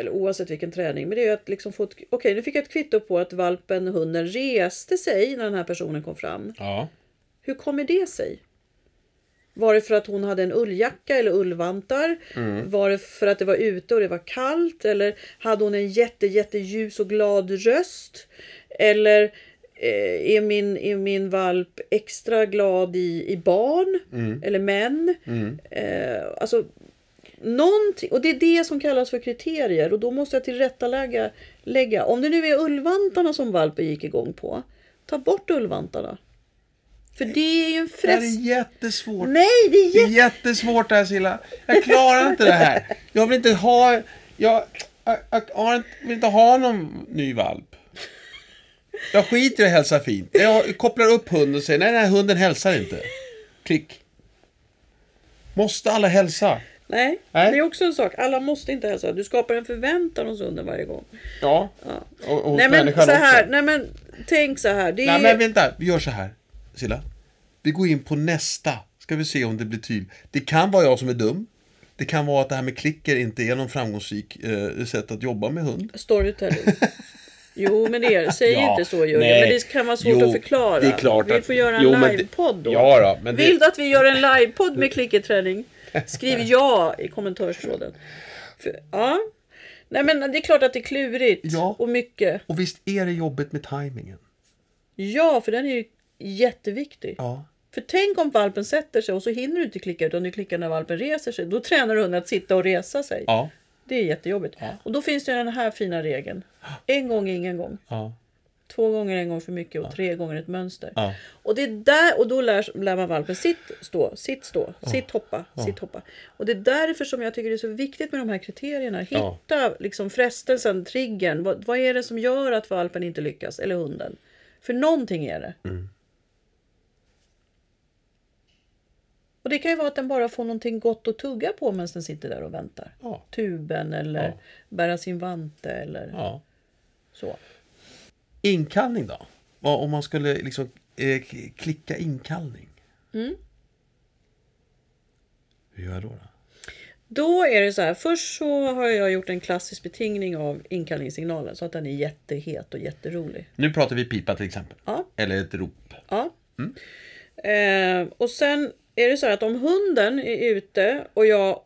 B: eller oavsett vilken träning, men det är ju att liksom få ett, okej nu fick jag ett kvitto på att valpen, hunden reste sig när den här personen kom fram.
A: Ja.
B: Hur kommer det sig? Var det för att hon hade en ulljacka eller ullvantar? Var det för att det var ute och det var kallt? Eller hade hon en jätte, jätte ljus och glad röst? Eller eh, är, min, är min valp extra glad i, i barn? Eller män? Eh, alltså, någonting, och det är det som kallas för kriterier och då måste jag tillrättalägga. Lägga. Om det nu är ullvantarna som valpen gick igång på, ta bort ullvantarna. För det är ju en
A: Det här
B: frest.
A: är jättesvårt.
B: Nej, det är
A: Det är
B: jätte...
A: jättesvårt det här Silla. Jag klarar inte det här. Jag vill inte ha... Jag, jag, jag har inte, vill inte ha någon ny valp. Jag skiter i att hälsa fint. Jag kopplar upp hunden och säger nej, den här hunden hälsar inte. Klick. Måste alla hälsa?
B: Nej,
A: Nej.
B: det är också en sak. Alla måste inte hälsa. Du skapar en förväntan hos hunden varje gång.
A: Ja. Och, och hos
B: Nej men,
A: människan
B: så här,
A: också.
B: nej men tänk så här. Det är,
A: Nej, men vänta. Vi gör så här, Silla. Vi går in på nästa. Ska vi se om det blir tydligt. Det kan vara jag som är dum. Det kan vara att det här med klicker inte är någon framgångsrik eh, sätt att jobba med hund.
B: Storytelling. Jo, men det är det. Säg
A: Ja,
B: inte så Jörgen.
A: nej.
B: Men det kan vara svårt
A: Jo,
B: att förklara.
A: det är klart
B: vi
A: att-
B: får göra en
A: jo, men det-
B: livepodd då.
A: Ja, då, men det-
B: Vill du att vi gör en livepodd med klickerträning? Skriv ja i kommentarstråden. För, ja. Nej, men det är klart att det är klurigt.
A: Ja.
B: Och mycket.
A: Och visst är det jobbigt med tajmingen?
B: Ja, för den är ju jätteviktig.
A: Ja.
B: För tänk om valpen sätter sig och så hinner du inte klicka utan du klickar när valpen reser sig. Då tränar hunden att sitta och resa sig.
A: Ja.
B: Det är jättejobbigt. Och då finns det den här fina regeln. En gång, ingen gång.
A: Ja.
B: Två gånger en gång för mycket och tre gånger ett mönster.
A: Ja.
B: Och, det är där, och då lär, lär man valpen sitt stå, sitt stå, sitt hoppa, sitt hoppa. Och det är därför som jag tycker det är så viktigt med de här kriterierna. Hitta
A: Ja.
B: liksom frestelsen, triggern. Vad, vad är det som gör att valpen inte lyckas? Eller hunden. För någonting är det.
A: Mm.
B: Och det kan ju vara att den bara får någonting gott att tugga på medan den sitter där och väntar.
A: Ja.
B: Tuben eller
A: Ja.
B: bära sin vante eller
A: ja.
B: så.
A: Inkallning då? Vad, om man skulle liksom eh, k- klicka inkallning? Mm. Hur gör jag då? då?
B: Då är det så här. Först så har jag gjort en klassisk betingning av inkallningssignalen så att den är jättehet och jätterolig.
A: Nu pratar vi pipa till exempel.
B: Ja.
A: Eller ett rop.
B: Ja. Eh, och sen är det så här att om hunden är ute och jag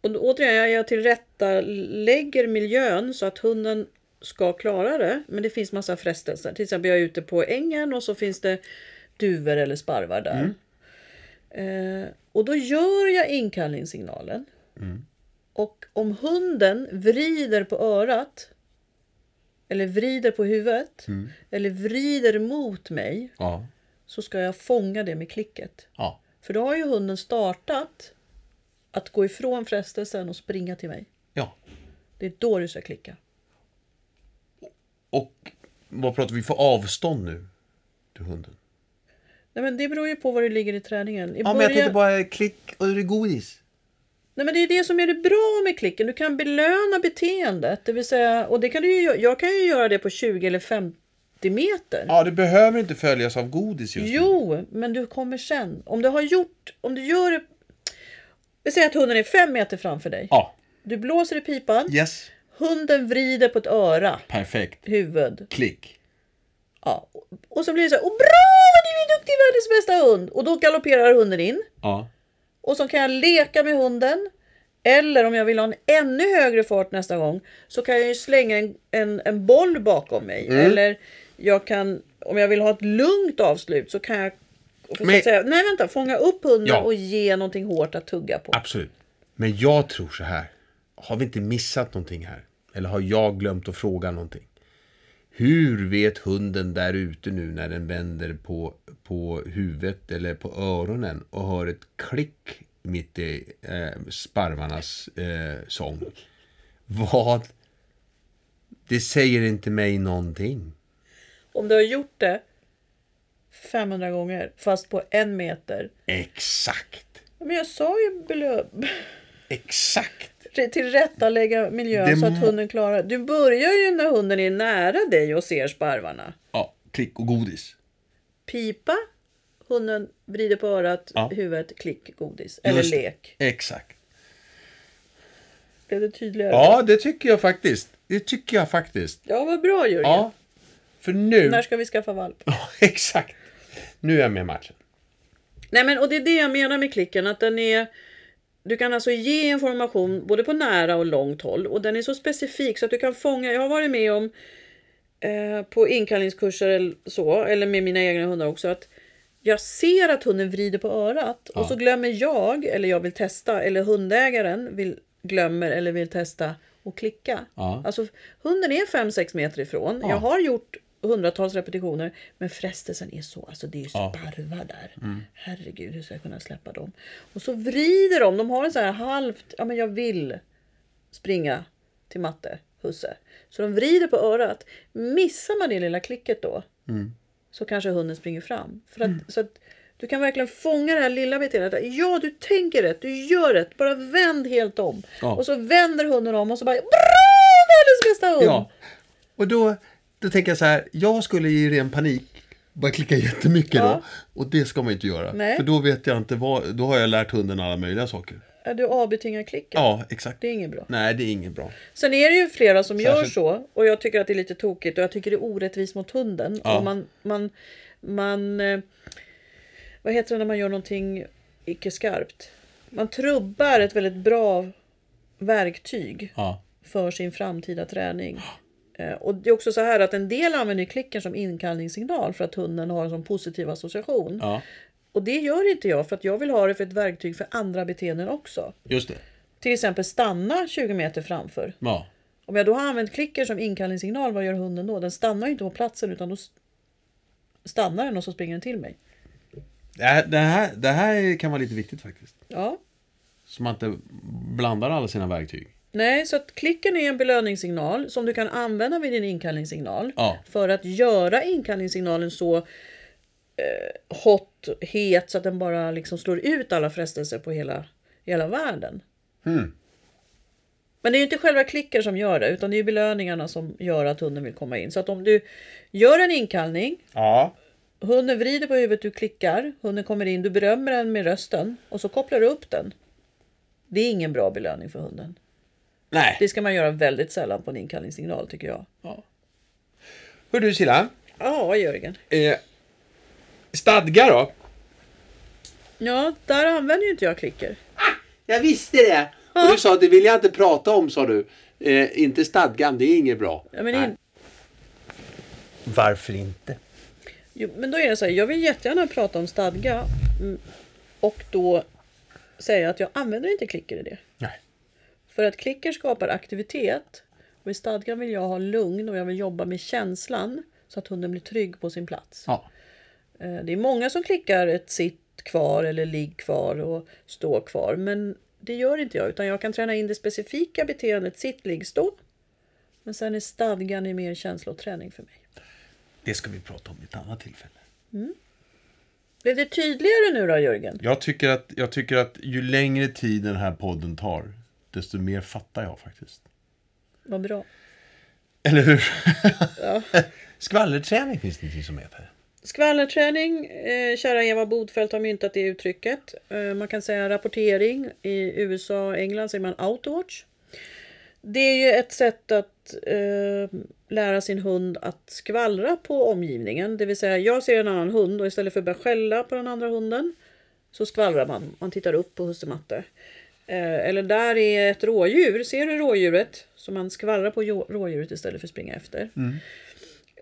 B: och då- återigen, jag, jag tillrättalägger miljön så att hunden ska klara det. Men det finns massa frestelser. Till exempel jag är ute på ängen och så finns det duvor eller sparvar där. Eh, och då gör jag inkallningssignalen. Och om hunden vrider på örat eller vrider på huvudet eller vrider mot mig
A: Ja.
B: så ska jag fånga det med klicket.
A: Ja.
B: För då har ju hunden startat att gå ifrån frestelsen och springa till mig.
A: ja.
B: Det är då du ska klicka.
A: Och vad pratar vi för avstånd nu? Till hunden?
B: Nej, men det beror ju på var du ligger i träningen. I
A: Ja, men jag
B: början-
A: tänkte bara klick och är det godis?
B: Nej, men det är det som är det bra med klicken. Du kan belöna beteendet. Det vill säga, och det kan du ju, gö- jag kan ju göra det på 20 eller 50 meter.
A: Ja, det behöver inte följas av godis just nu.
B: Jo, men du kommer sen. Om du har gjort, om du gör det... Vi säger att hunden är fem meter framför dig.
A: Ja.
B: Du blåser i pipan.
A: Yes.
B: Hunden vrider på ett öra,
A: Perfekt.
B: huvud.
A: Klick.
B: Ja. Och så blir det så här, Åh, bra, du är duktig, världens bästa hund! Och då galopperar hunden in.
A: Ja.
B: Och så kan jag leka med hunden. Eller om jag vill ha en ännu högre fart nästa gång så kan jag ju slänga en, en, en boll bakom mig.
A: Mm.
B: Eller jag kan, om jag vill ha ett lugnt avslut så kan jag så
A: Men-
B: att säga, nej vänta, fånga upp hunden
A: Ja.
B: och ge någonting hårt att tugga på.
A: Absolut. Men jag tror så här. Har vi inte missat någonting här? Eller har jag glömt att fråga någonting? Hur vet hunden där ute nu när den vänder på, på huvudet eller på öronen och hör ett klick mitt i eh, sparvarnas eh, sång? Vad? Det säger inte mig någonting.
B: Om du har gjort det 500 gånger fast på en meter.
A: Exakt.
B: Men jag sa ju belö-
A: Exakt.
B: tillrättalägga miljön
A: Det
B: så att
A: må-
B: hunden klarar Du börjar ju när hunden är nära dig och ser sparvarna.
A: Ja, klick och godis.
B: Pipa, hunden vrider på örat,
A: Ja.
B: huvudet, klick, godis. Eller
A: Just det.
B: lek.
A: Exakt.
B: Blev det tydligare?
A: Ja, det tycker jag faktiskt. Det tycker jag faktiskt.
B: Ja, vad bra Jörgen.
A: Ja, för nu...
B: När ska vi skaffa valp?
A: Ja, exakt. Nu är jag med i matchen.
B: Nej, men och det är det jag menar med klicken. Att den är... Du kan alltså ge information både på nära och långt håll och den är så specifik så att du kan fånga. Jag har varit med om eh, på inkallningskurser eller så, eller med mina egna hundar också, att jag ser att hunden vrider på örat och så glömmer jag, eller jag vill testa, eller hundägaren vill, glömmer eller vill testa och klicka.
A: Ja.
B: Alltså hunden är 5-6 meter ifrån. Jag har gjort hundratals repetitioner, men frestelsen är så, alltså det är ju sparvar där. Herregud, hur ska jag kunna släppa dem? Och så vrider de, de har en så här halvt, ja men jag vill springa till matte, husse. Så de vrider på örat.
A: Mm.
B: Missar man det lilla klicket då så kanske hunden springer fram. För att, så att, Du kan verkligen fånga det här lilla beteendet. att Ja, du tänker rätt, du gör rätt, bara vänd helt om.
A: Ja.
B: Och så vänder hunden om och så bara Bra! Världens bästa hund!
A: Ja. Och då, då tänker jag så här, jag skulle i ren panik bara klicka jättemycket
B: Ja.
A: då. Och det ska man ju inte göra.
B: Nej.
A: För då vet jag inte vad, då har jag lärt hunden alla möjliga saker.
B: Ja, Äh, Du avbetingar klicken.
A: Ja, exakt.
B: Det är inget bra.
A: Nej, det är inget bra.
B: Sen är det ju flera som gör
A: Särskilt-
B: så och jag tycker att det är lite tokigt och jag tycker det är orättvist mot hunden.
A: Ja.
B: Och man, man, man, eh, vad heter det när man gör någonting icke skarpt? Man trubbar ett väldigt bra verktyg
A: Ja.
B: för sin framtida träning. Eh, Och det är också så här att en del använder ju klicken som inkallningssignal för att hunden har en sån positiv association.
A: ja,
B: Och det gör inte jag för att jag vill ha det för ett verktyg för andra beteenden också.
A: just det.
B: Till exempel stanna 20 meter framför.
A: Ja.
B: Om jag då har använt klicker som inkallningssignal, vad gör hunden då? Den stannar ju inte på platsen utan då s- stannar den och så springer den till mig.
A: Det här, det, här, det här kan vara lite viktigt faktiskt.
B: Ja.
A: Så man inte blandar alla sina verktyg.
B: Nej, så att klicken är en belöningssignal som du kan använda vid din inkallningssignal.
A: Ja.
B: För att göra inkallningssignalen så eh, hot, het, så att den bara liksom slår ut alla frestelser på hela, hela världen. Men det är ju inte själva klicken som gör det, utan det är ju belöningarna som gör att hunden vill komma in. Så att om du gör en inkallning
A: Ja.
B: Hunden vrider på huvudet, du klickar, hunden kommer in, du berömmer den med rösten och så kopplar du upp den. Det är ingen bra belöning för hunden.
A: Nej.
B: Det ska man göra väldigt sällan på en inkallningssignal tycker jag.
A: Ja. Hör du Silla.
B: Ja, Jörgen.
A: Eh, stadga då?
B: Ja, där använder ju inte jag klicker.
A: Jag visste det! Och du sa att det vill jag inte prata om sa du. Eh, inte stadgan, det är inget bra.
B: Ja, men, in,
A: Varför inte?
B: jo, men då är det så här, jag vill jättegärna prata om stadga mm, och då säga att jag använder inte klicker i det.
A: Nej.
B: För att klicker skapar aktivitet och i stadgan vill jag ha lugn och jag vill jobba med känslan så att hunden blir trygg på sin plats.
A: Ja.
B: Eh, Det är många som klickar ett sitt kvar eller ligg kvar och stå kvar. Men det gör inte jag utan jag kan träna in det specifika beteendet sitt, ligg, stå. Men sen är stadgan i mer känsloträning för mig.
A: Det ska vi prata om vid ett annat tillfälle.
B: Blev det tydligare nu då Jörgen?
A: Jag tycker, att, jag tycker att ju längre tid den här podden tar, desto mer fattar jag faktiskt.
B: Vad bra.
A: Eller hur? Skvallerträning finns det inte som heter.
B: Skvallerträning, eh, kära Eva Bodfeldt har myntat det uttrycket. Eh, man kan säga rapportering. I USA och England säger man outwatch. Det är ju ett sätt att eh, lära sin hund att skvallra på omgivningen. Det vill säga, jag ser en annan hund och istället för att börja skälla på den andra hunden så skvallrar man. Man tittar upp på husse-matte. Eh, eller där är ett rådjur. Ser du rådjuret? Så man skvallrar på jo- rådjuret istället för att springa efter.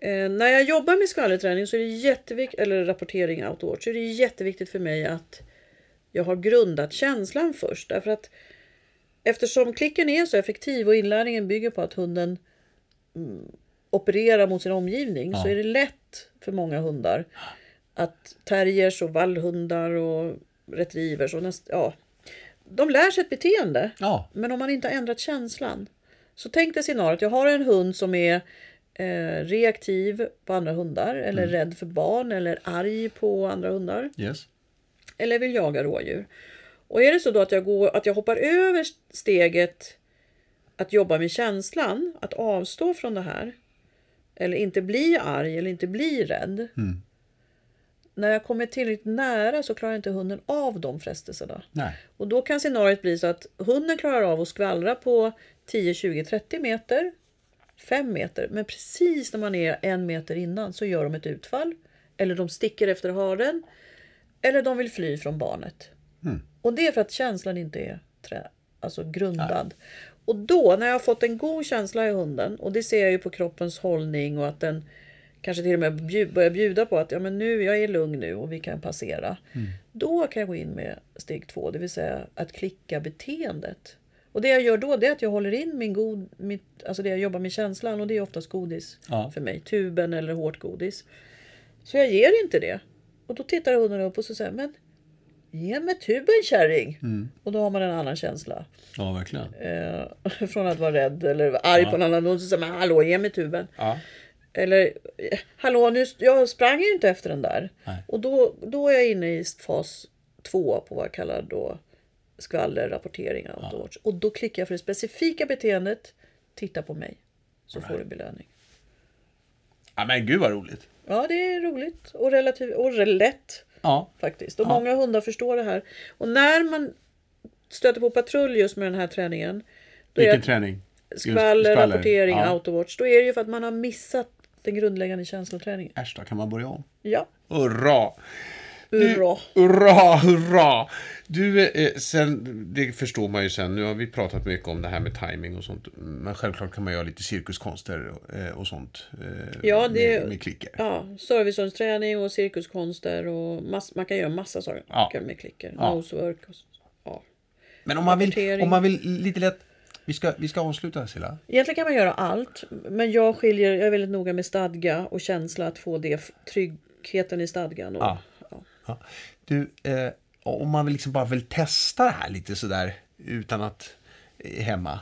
B: Eh, när jag jobbar med skvallerträning så är det jätteviktigt, eller rapportering outdoors, så är det jätteviktigt för mig att jag har grundat känslan först. Därför att eftersom klicken är så effektiv och inlärningen bygger på att hunden mm, opererar mot sin omgivning så är det lätt för många hundar att terriers och vallhundar och retrievers och näst, ja, de lär sig ett beteende.
A: Ja.
B: Men om man inte har ändrat känslan. Så tänk dig scenariot, jag har en hund som är eh, reaktiv på andra hundar eller rädd för barn eller arg på andra hundar
A: Yes.
B: eller vill jaga rådjur. Och är det så då att jag, går, att jag hoppar över steget att jobba med känslan, att avstå från det här, eller inte bli arg eller inte bli rädd. När jag kommer tillräckligt nära så klarar inte hunden av de frestelserna.
A: Nej.
B: Och då kan scenariot bli så att hunden klarar av att skvallra på 10, 20, 30 meter, 5 meter. Men precis när man är en meter innan så gör de ett utfall. Eller de sticker efter haren. Eller de vill fly från barnet. Och det är för att känslan inte är trä, alltså grundad. Och då, när jag har fått en god känsla i hunden, och det ser jag ju på kroppens hållning och att den kanske till och med bju- börjar bjuda på att ja, men nu, jag är lugn nu och vi kan passera. Då kan jag gå in med steg två, det vill säga att klicka beteendet. Och det jag gör då det är att jag håller in min god, mitt, alltså det jag jobbar med känslan och det är oftast godis
A: Ja.
B: för mig. Tuben eller hårt godis. Så jag ger inte det. Och då tittar hunden upp och så säger men ge mig tuben kärring. Och då har man en annan känsla.
A: Ja, verkligen.
B: Eh, från att vara rädd eller arg på en annan hund så säger man hallå ge mig tuben.
A: Ja.
B: Eller, eh, hallå, nu, jag sprang ju inte efter den där.
A: Nej.
B: Och då, då är jag inne i fas två på vad jag kallar då skvallerrapportering. outdoors. Och då klickar jag för det specifika beteendet. Titta på mig, så får du belöning.
A: Ja, men gud vad roligt.
B: Ja, det är roligt och relativt och lätt
A: Ja.
B: faktiskt. Och många hundar förstår det här. Och när man stöter på patrull just med den här träningen. Då
A: Vilken
B: är
A: träning? Just
B: skvaller, rapportering,
A: Ja.
B: autowatch. Då är det ju för att man har missat den grundläggande känsloträningen.
A: Äsch då, kan man börja om?
B: Ja,
A: Hurra!
B: hurra.
A: Hurra, hurra! Du, eh, sen, det förstår man ju sen. Nu har vi pratat mycket om det här med timing och sånt. Men självklart kan man göra lite cirkuskonster och, eh, och sånt. eh,
B: Ja, det-
A: med, med klicker.
B: Ja, servicehundsträning och cirkuskonster och mass, man kan göra massa saker
A: Ja.
B: med klicker.
A: Ja.
B: Nosework och så. Ja.
A: Men om man vill,
B: Rapportering.
A: om man vill lite lätt... Vi ska, vi ska avsluta Silla.
B: Egentligen kan man göra allt, men jag skiljer, jag är väldigt noga med stadga och känsla att få det f- tryggheten i stadgan. Och,
A: Ja. Ja. Du, eh, om man vill liksom bara vill testa det här lite sådär utan att eh, hemma.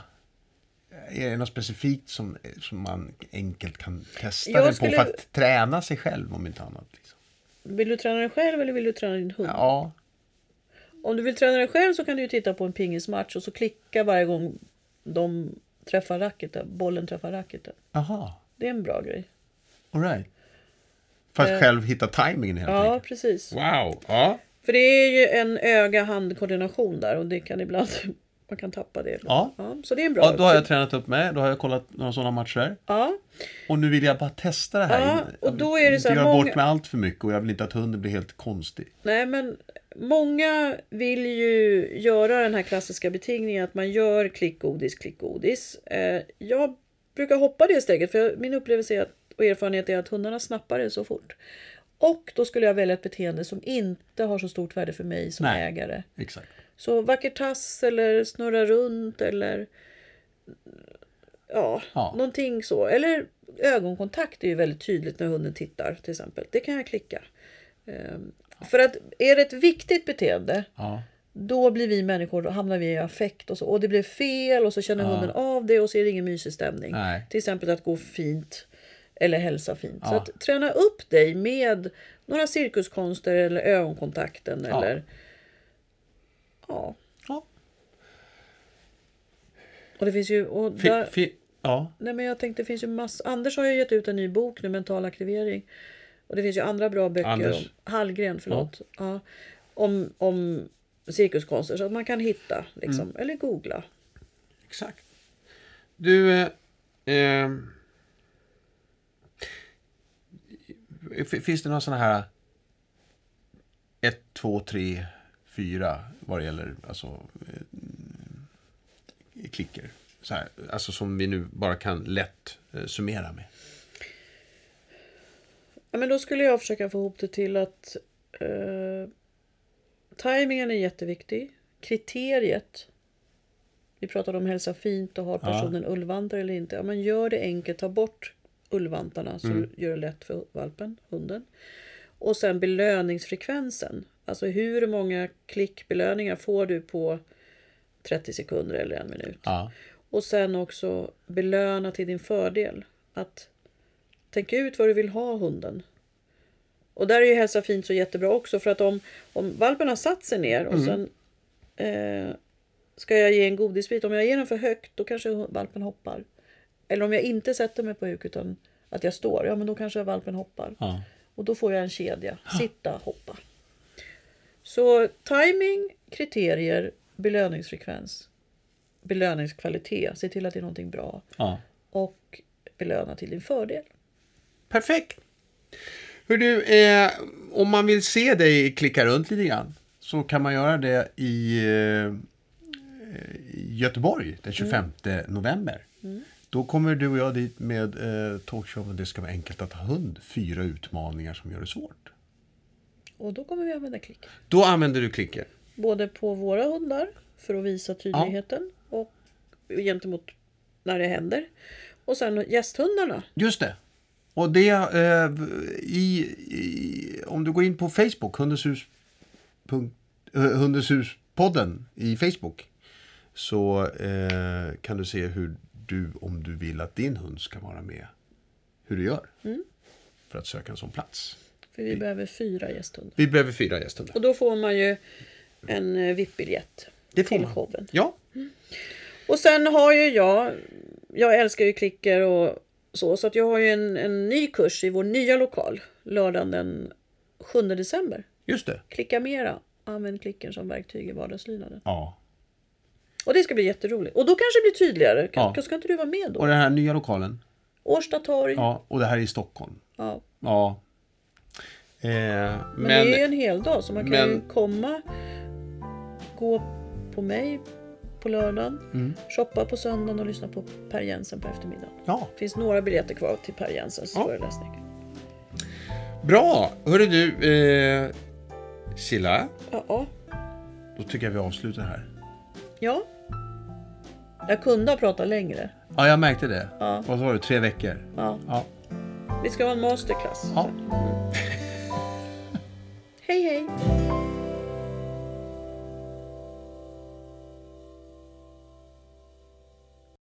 A: Är det något specifikt som, eh, som man enkelt kan testa
B: Jag
A: det på
B: skulle-
A: för att träna sig själv om inte annat? Liksom?
B: Vill du träna dig själv eller vill du träna din hund?
A: Ja,
B: Om du vill träna dig själv så kan du ju titta på en pingismatch och så klicka varje gång de träffar racketen, bollen träffar racketen.
A: aha,
B: Det är en bra grej.
A: alright. För att själv hitta timingen helt
B: Eh, Ja,
A: enkelt.
B: precis.
A: Wow, ja.
B: För det är ju en öga-handkoordination där och det kan ibland, man kan tappa det.
A: Ja.
B: så det är en bra
A: ja. Då har jag tränat upp mig, då har jag kollat några sådana matcher.
B: Ja,
A: Och nu vill jag bara testa det här.
B: Ja, och då är
A: jag
B: det
A: vill
B: så
A: inte
B: här
A: göra
B: många-
A: bort med allt för mycket och jag vill inte att hunden blir helt konstig.
B: nej men många vill ju göra den här klassiska betingningen att man gör klickgodis, klickgodis. Eh, jag brukar hoppa det steget för jag, min upplevelse är att, och erfarenhet är att hundarna snappar det så fort. Och då skulle jag välja ett beteende som inte har så stort värde för mig som
A: Nej.
B: ägare.
A: Exakt.
B: Så vacker tass eller snurra runt eller ja,
A: Ja.
B: någonting så. Eller ögonkontakt är ju väldigt tydligt när hunden tittar till exempel. Det kan jag klicka. Ehm, För att är det ett viktigt beteende
A: Ja.
B: då blir vi människor, då hamnar vi i affekt och så. Och det blev fel och så känner hunden av det och så är det ingen mysig stämning.
A: Nej.
B: Till exempel att gå fint eller hälsa fint. Så
A: Ja.
B: att träna upp dig med några cirkuskonster eller ögonkontakten
A: Ja.
B: eller ja.
A: ja.
B: Och det finns ju... Och
A: Fi,
B: där,
A: fi, ja.
B: nej men jag tänkte, det finns ju massa... Anders har ju gett ut en ny bok nu, Mental aktivering. Och det finns ju andra bra böcker.
A: Anders.
B: Om, Hallgren, förlåt. Ja. om, om cirkuskonster, så att man kan hitta. Liksom,
A: Mm.
B: Eller googla.
A: Exakt. Du... Eh, ehm, f- finns det några sådana här... ett, två, tre, fyra vad det gäller alltså, eh, klicker? Så här, alltså som vi nu bara kan lätt eh, summera med.
B: Ja, men då skulle jag försöka få ihop det till att eh, tajmingen är jätteviktig. Kriteriet. Vi pratade om hälsa fint och har personen ullvantar eller inte. Ja, men gör det enkelt, ta bort ullvantarna så du gör det lätt för valpen, hunden. Och sen belöningsfrekvensen. Alltså hur många klickbelöningar får du på 30 sekunder eller en minut?
A: Ja.
B: Och sen också belöna till din fördel. Att tänka ut vad du vill ha hunden. Och där är ju hälsa fint så jättebra också. För att om, om valpen har satt sig ner och sen eh, ska jag ge en godisbit. Om jag ger den för högt då kanske hu- valpen hoppar. Eller om jag inte sätter mig på huk utan att jag står. Ja men då kanske valpen hoppar.
A: ja.
B: Och då får jag en kedja. Sitta, hoppa. Så timing, kriterier, belöningsfrekvens, belöningskvalitet. Se till att det är någonting bra.
A: ja.
B: Och belöna till din fördel.
A: Perfekt! Hör du, eh, om man vill se dig klicka runt lite grann så kan man göra det i eh, i Göteborg den 25 november. Då kommer du och jag dit med eh, talkshowen Det ska vara enkelt att ha hund. Fyra utmaningar som gör det svårt.
B: Och då kommer vi använda klick.
A: Då använder du klicker.
B: Både på våra hundar för att visa tydligheten och gentemot när det händer. Och sen gästhundarna.
A: Just det. Och det eh, i, i, om du går in på Facebook, Hundens hus, punkt, eh, Hundens hus-podden i Facebook. Så eh, kan du se hur du, om du vill att din hund ska vara med, hur du gör
B: Mm.
A: för att söka en sån plats.
B: För vi behöver fyra gästhundar.
A: Vi behöver fyra gästhundar.
B: Och då får man ju en eh, VIP-biljett
A: Det får
B: till
A: man.
B: showen.
A: Ja,
B: Och sen har ju jag, jag älskar ju klicker och så, så att jag har ju en, en ny kurs i vår nya lokal lördagen den 7 december.
A: just det.
B: Klicka mera, använd klicken som verktyg i vardagslydnaden.
A: Ja.
B: Och det ska bli jätteroligt. Och då kanske det blir tydligare. Kan,
A: Ja.
B: Ska inte du vara med
A: Och
B: då?
A: den här nya lokalen.
B: Årsta torg. Ja.
A: Ja, och det här är i Stockholm. Ja. Eh, men,
B: Men, det är ju en hel dag så man kan
A: men-
B: ju komma, gå på mig på lördagen,
A: Mm.
B: shoppa på söndagen och lyssna på Per Jensen på eftermiddagen.
A: ja,
B: Det finns några biljetter kvar till Per Jensens
A: Ja.
B: föreläsning.
A: bra. Hörru du, eh, Silla.
B: Ja.
A: Då tycker jag vi avslutar här.
B: ja. Jag kunde ha pratat längre.
A: Ja, jag märkte det.
B: Ja.
A: Vad sa du? Tre veckor?
B: Ja.
A: Ja.
B: Vi ska ha en masterclass.
A: ja.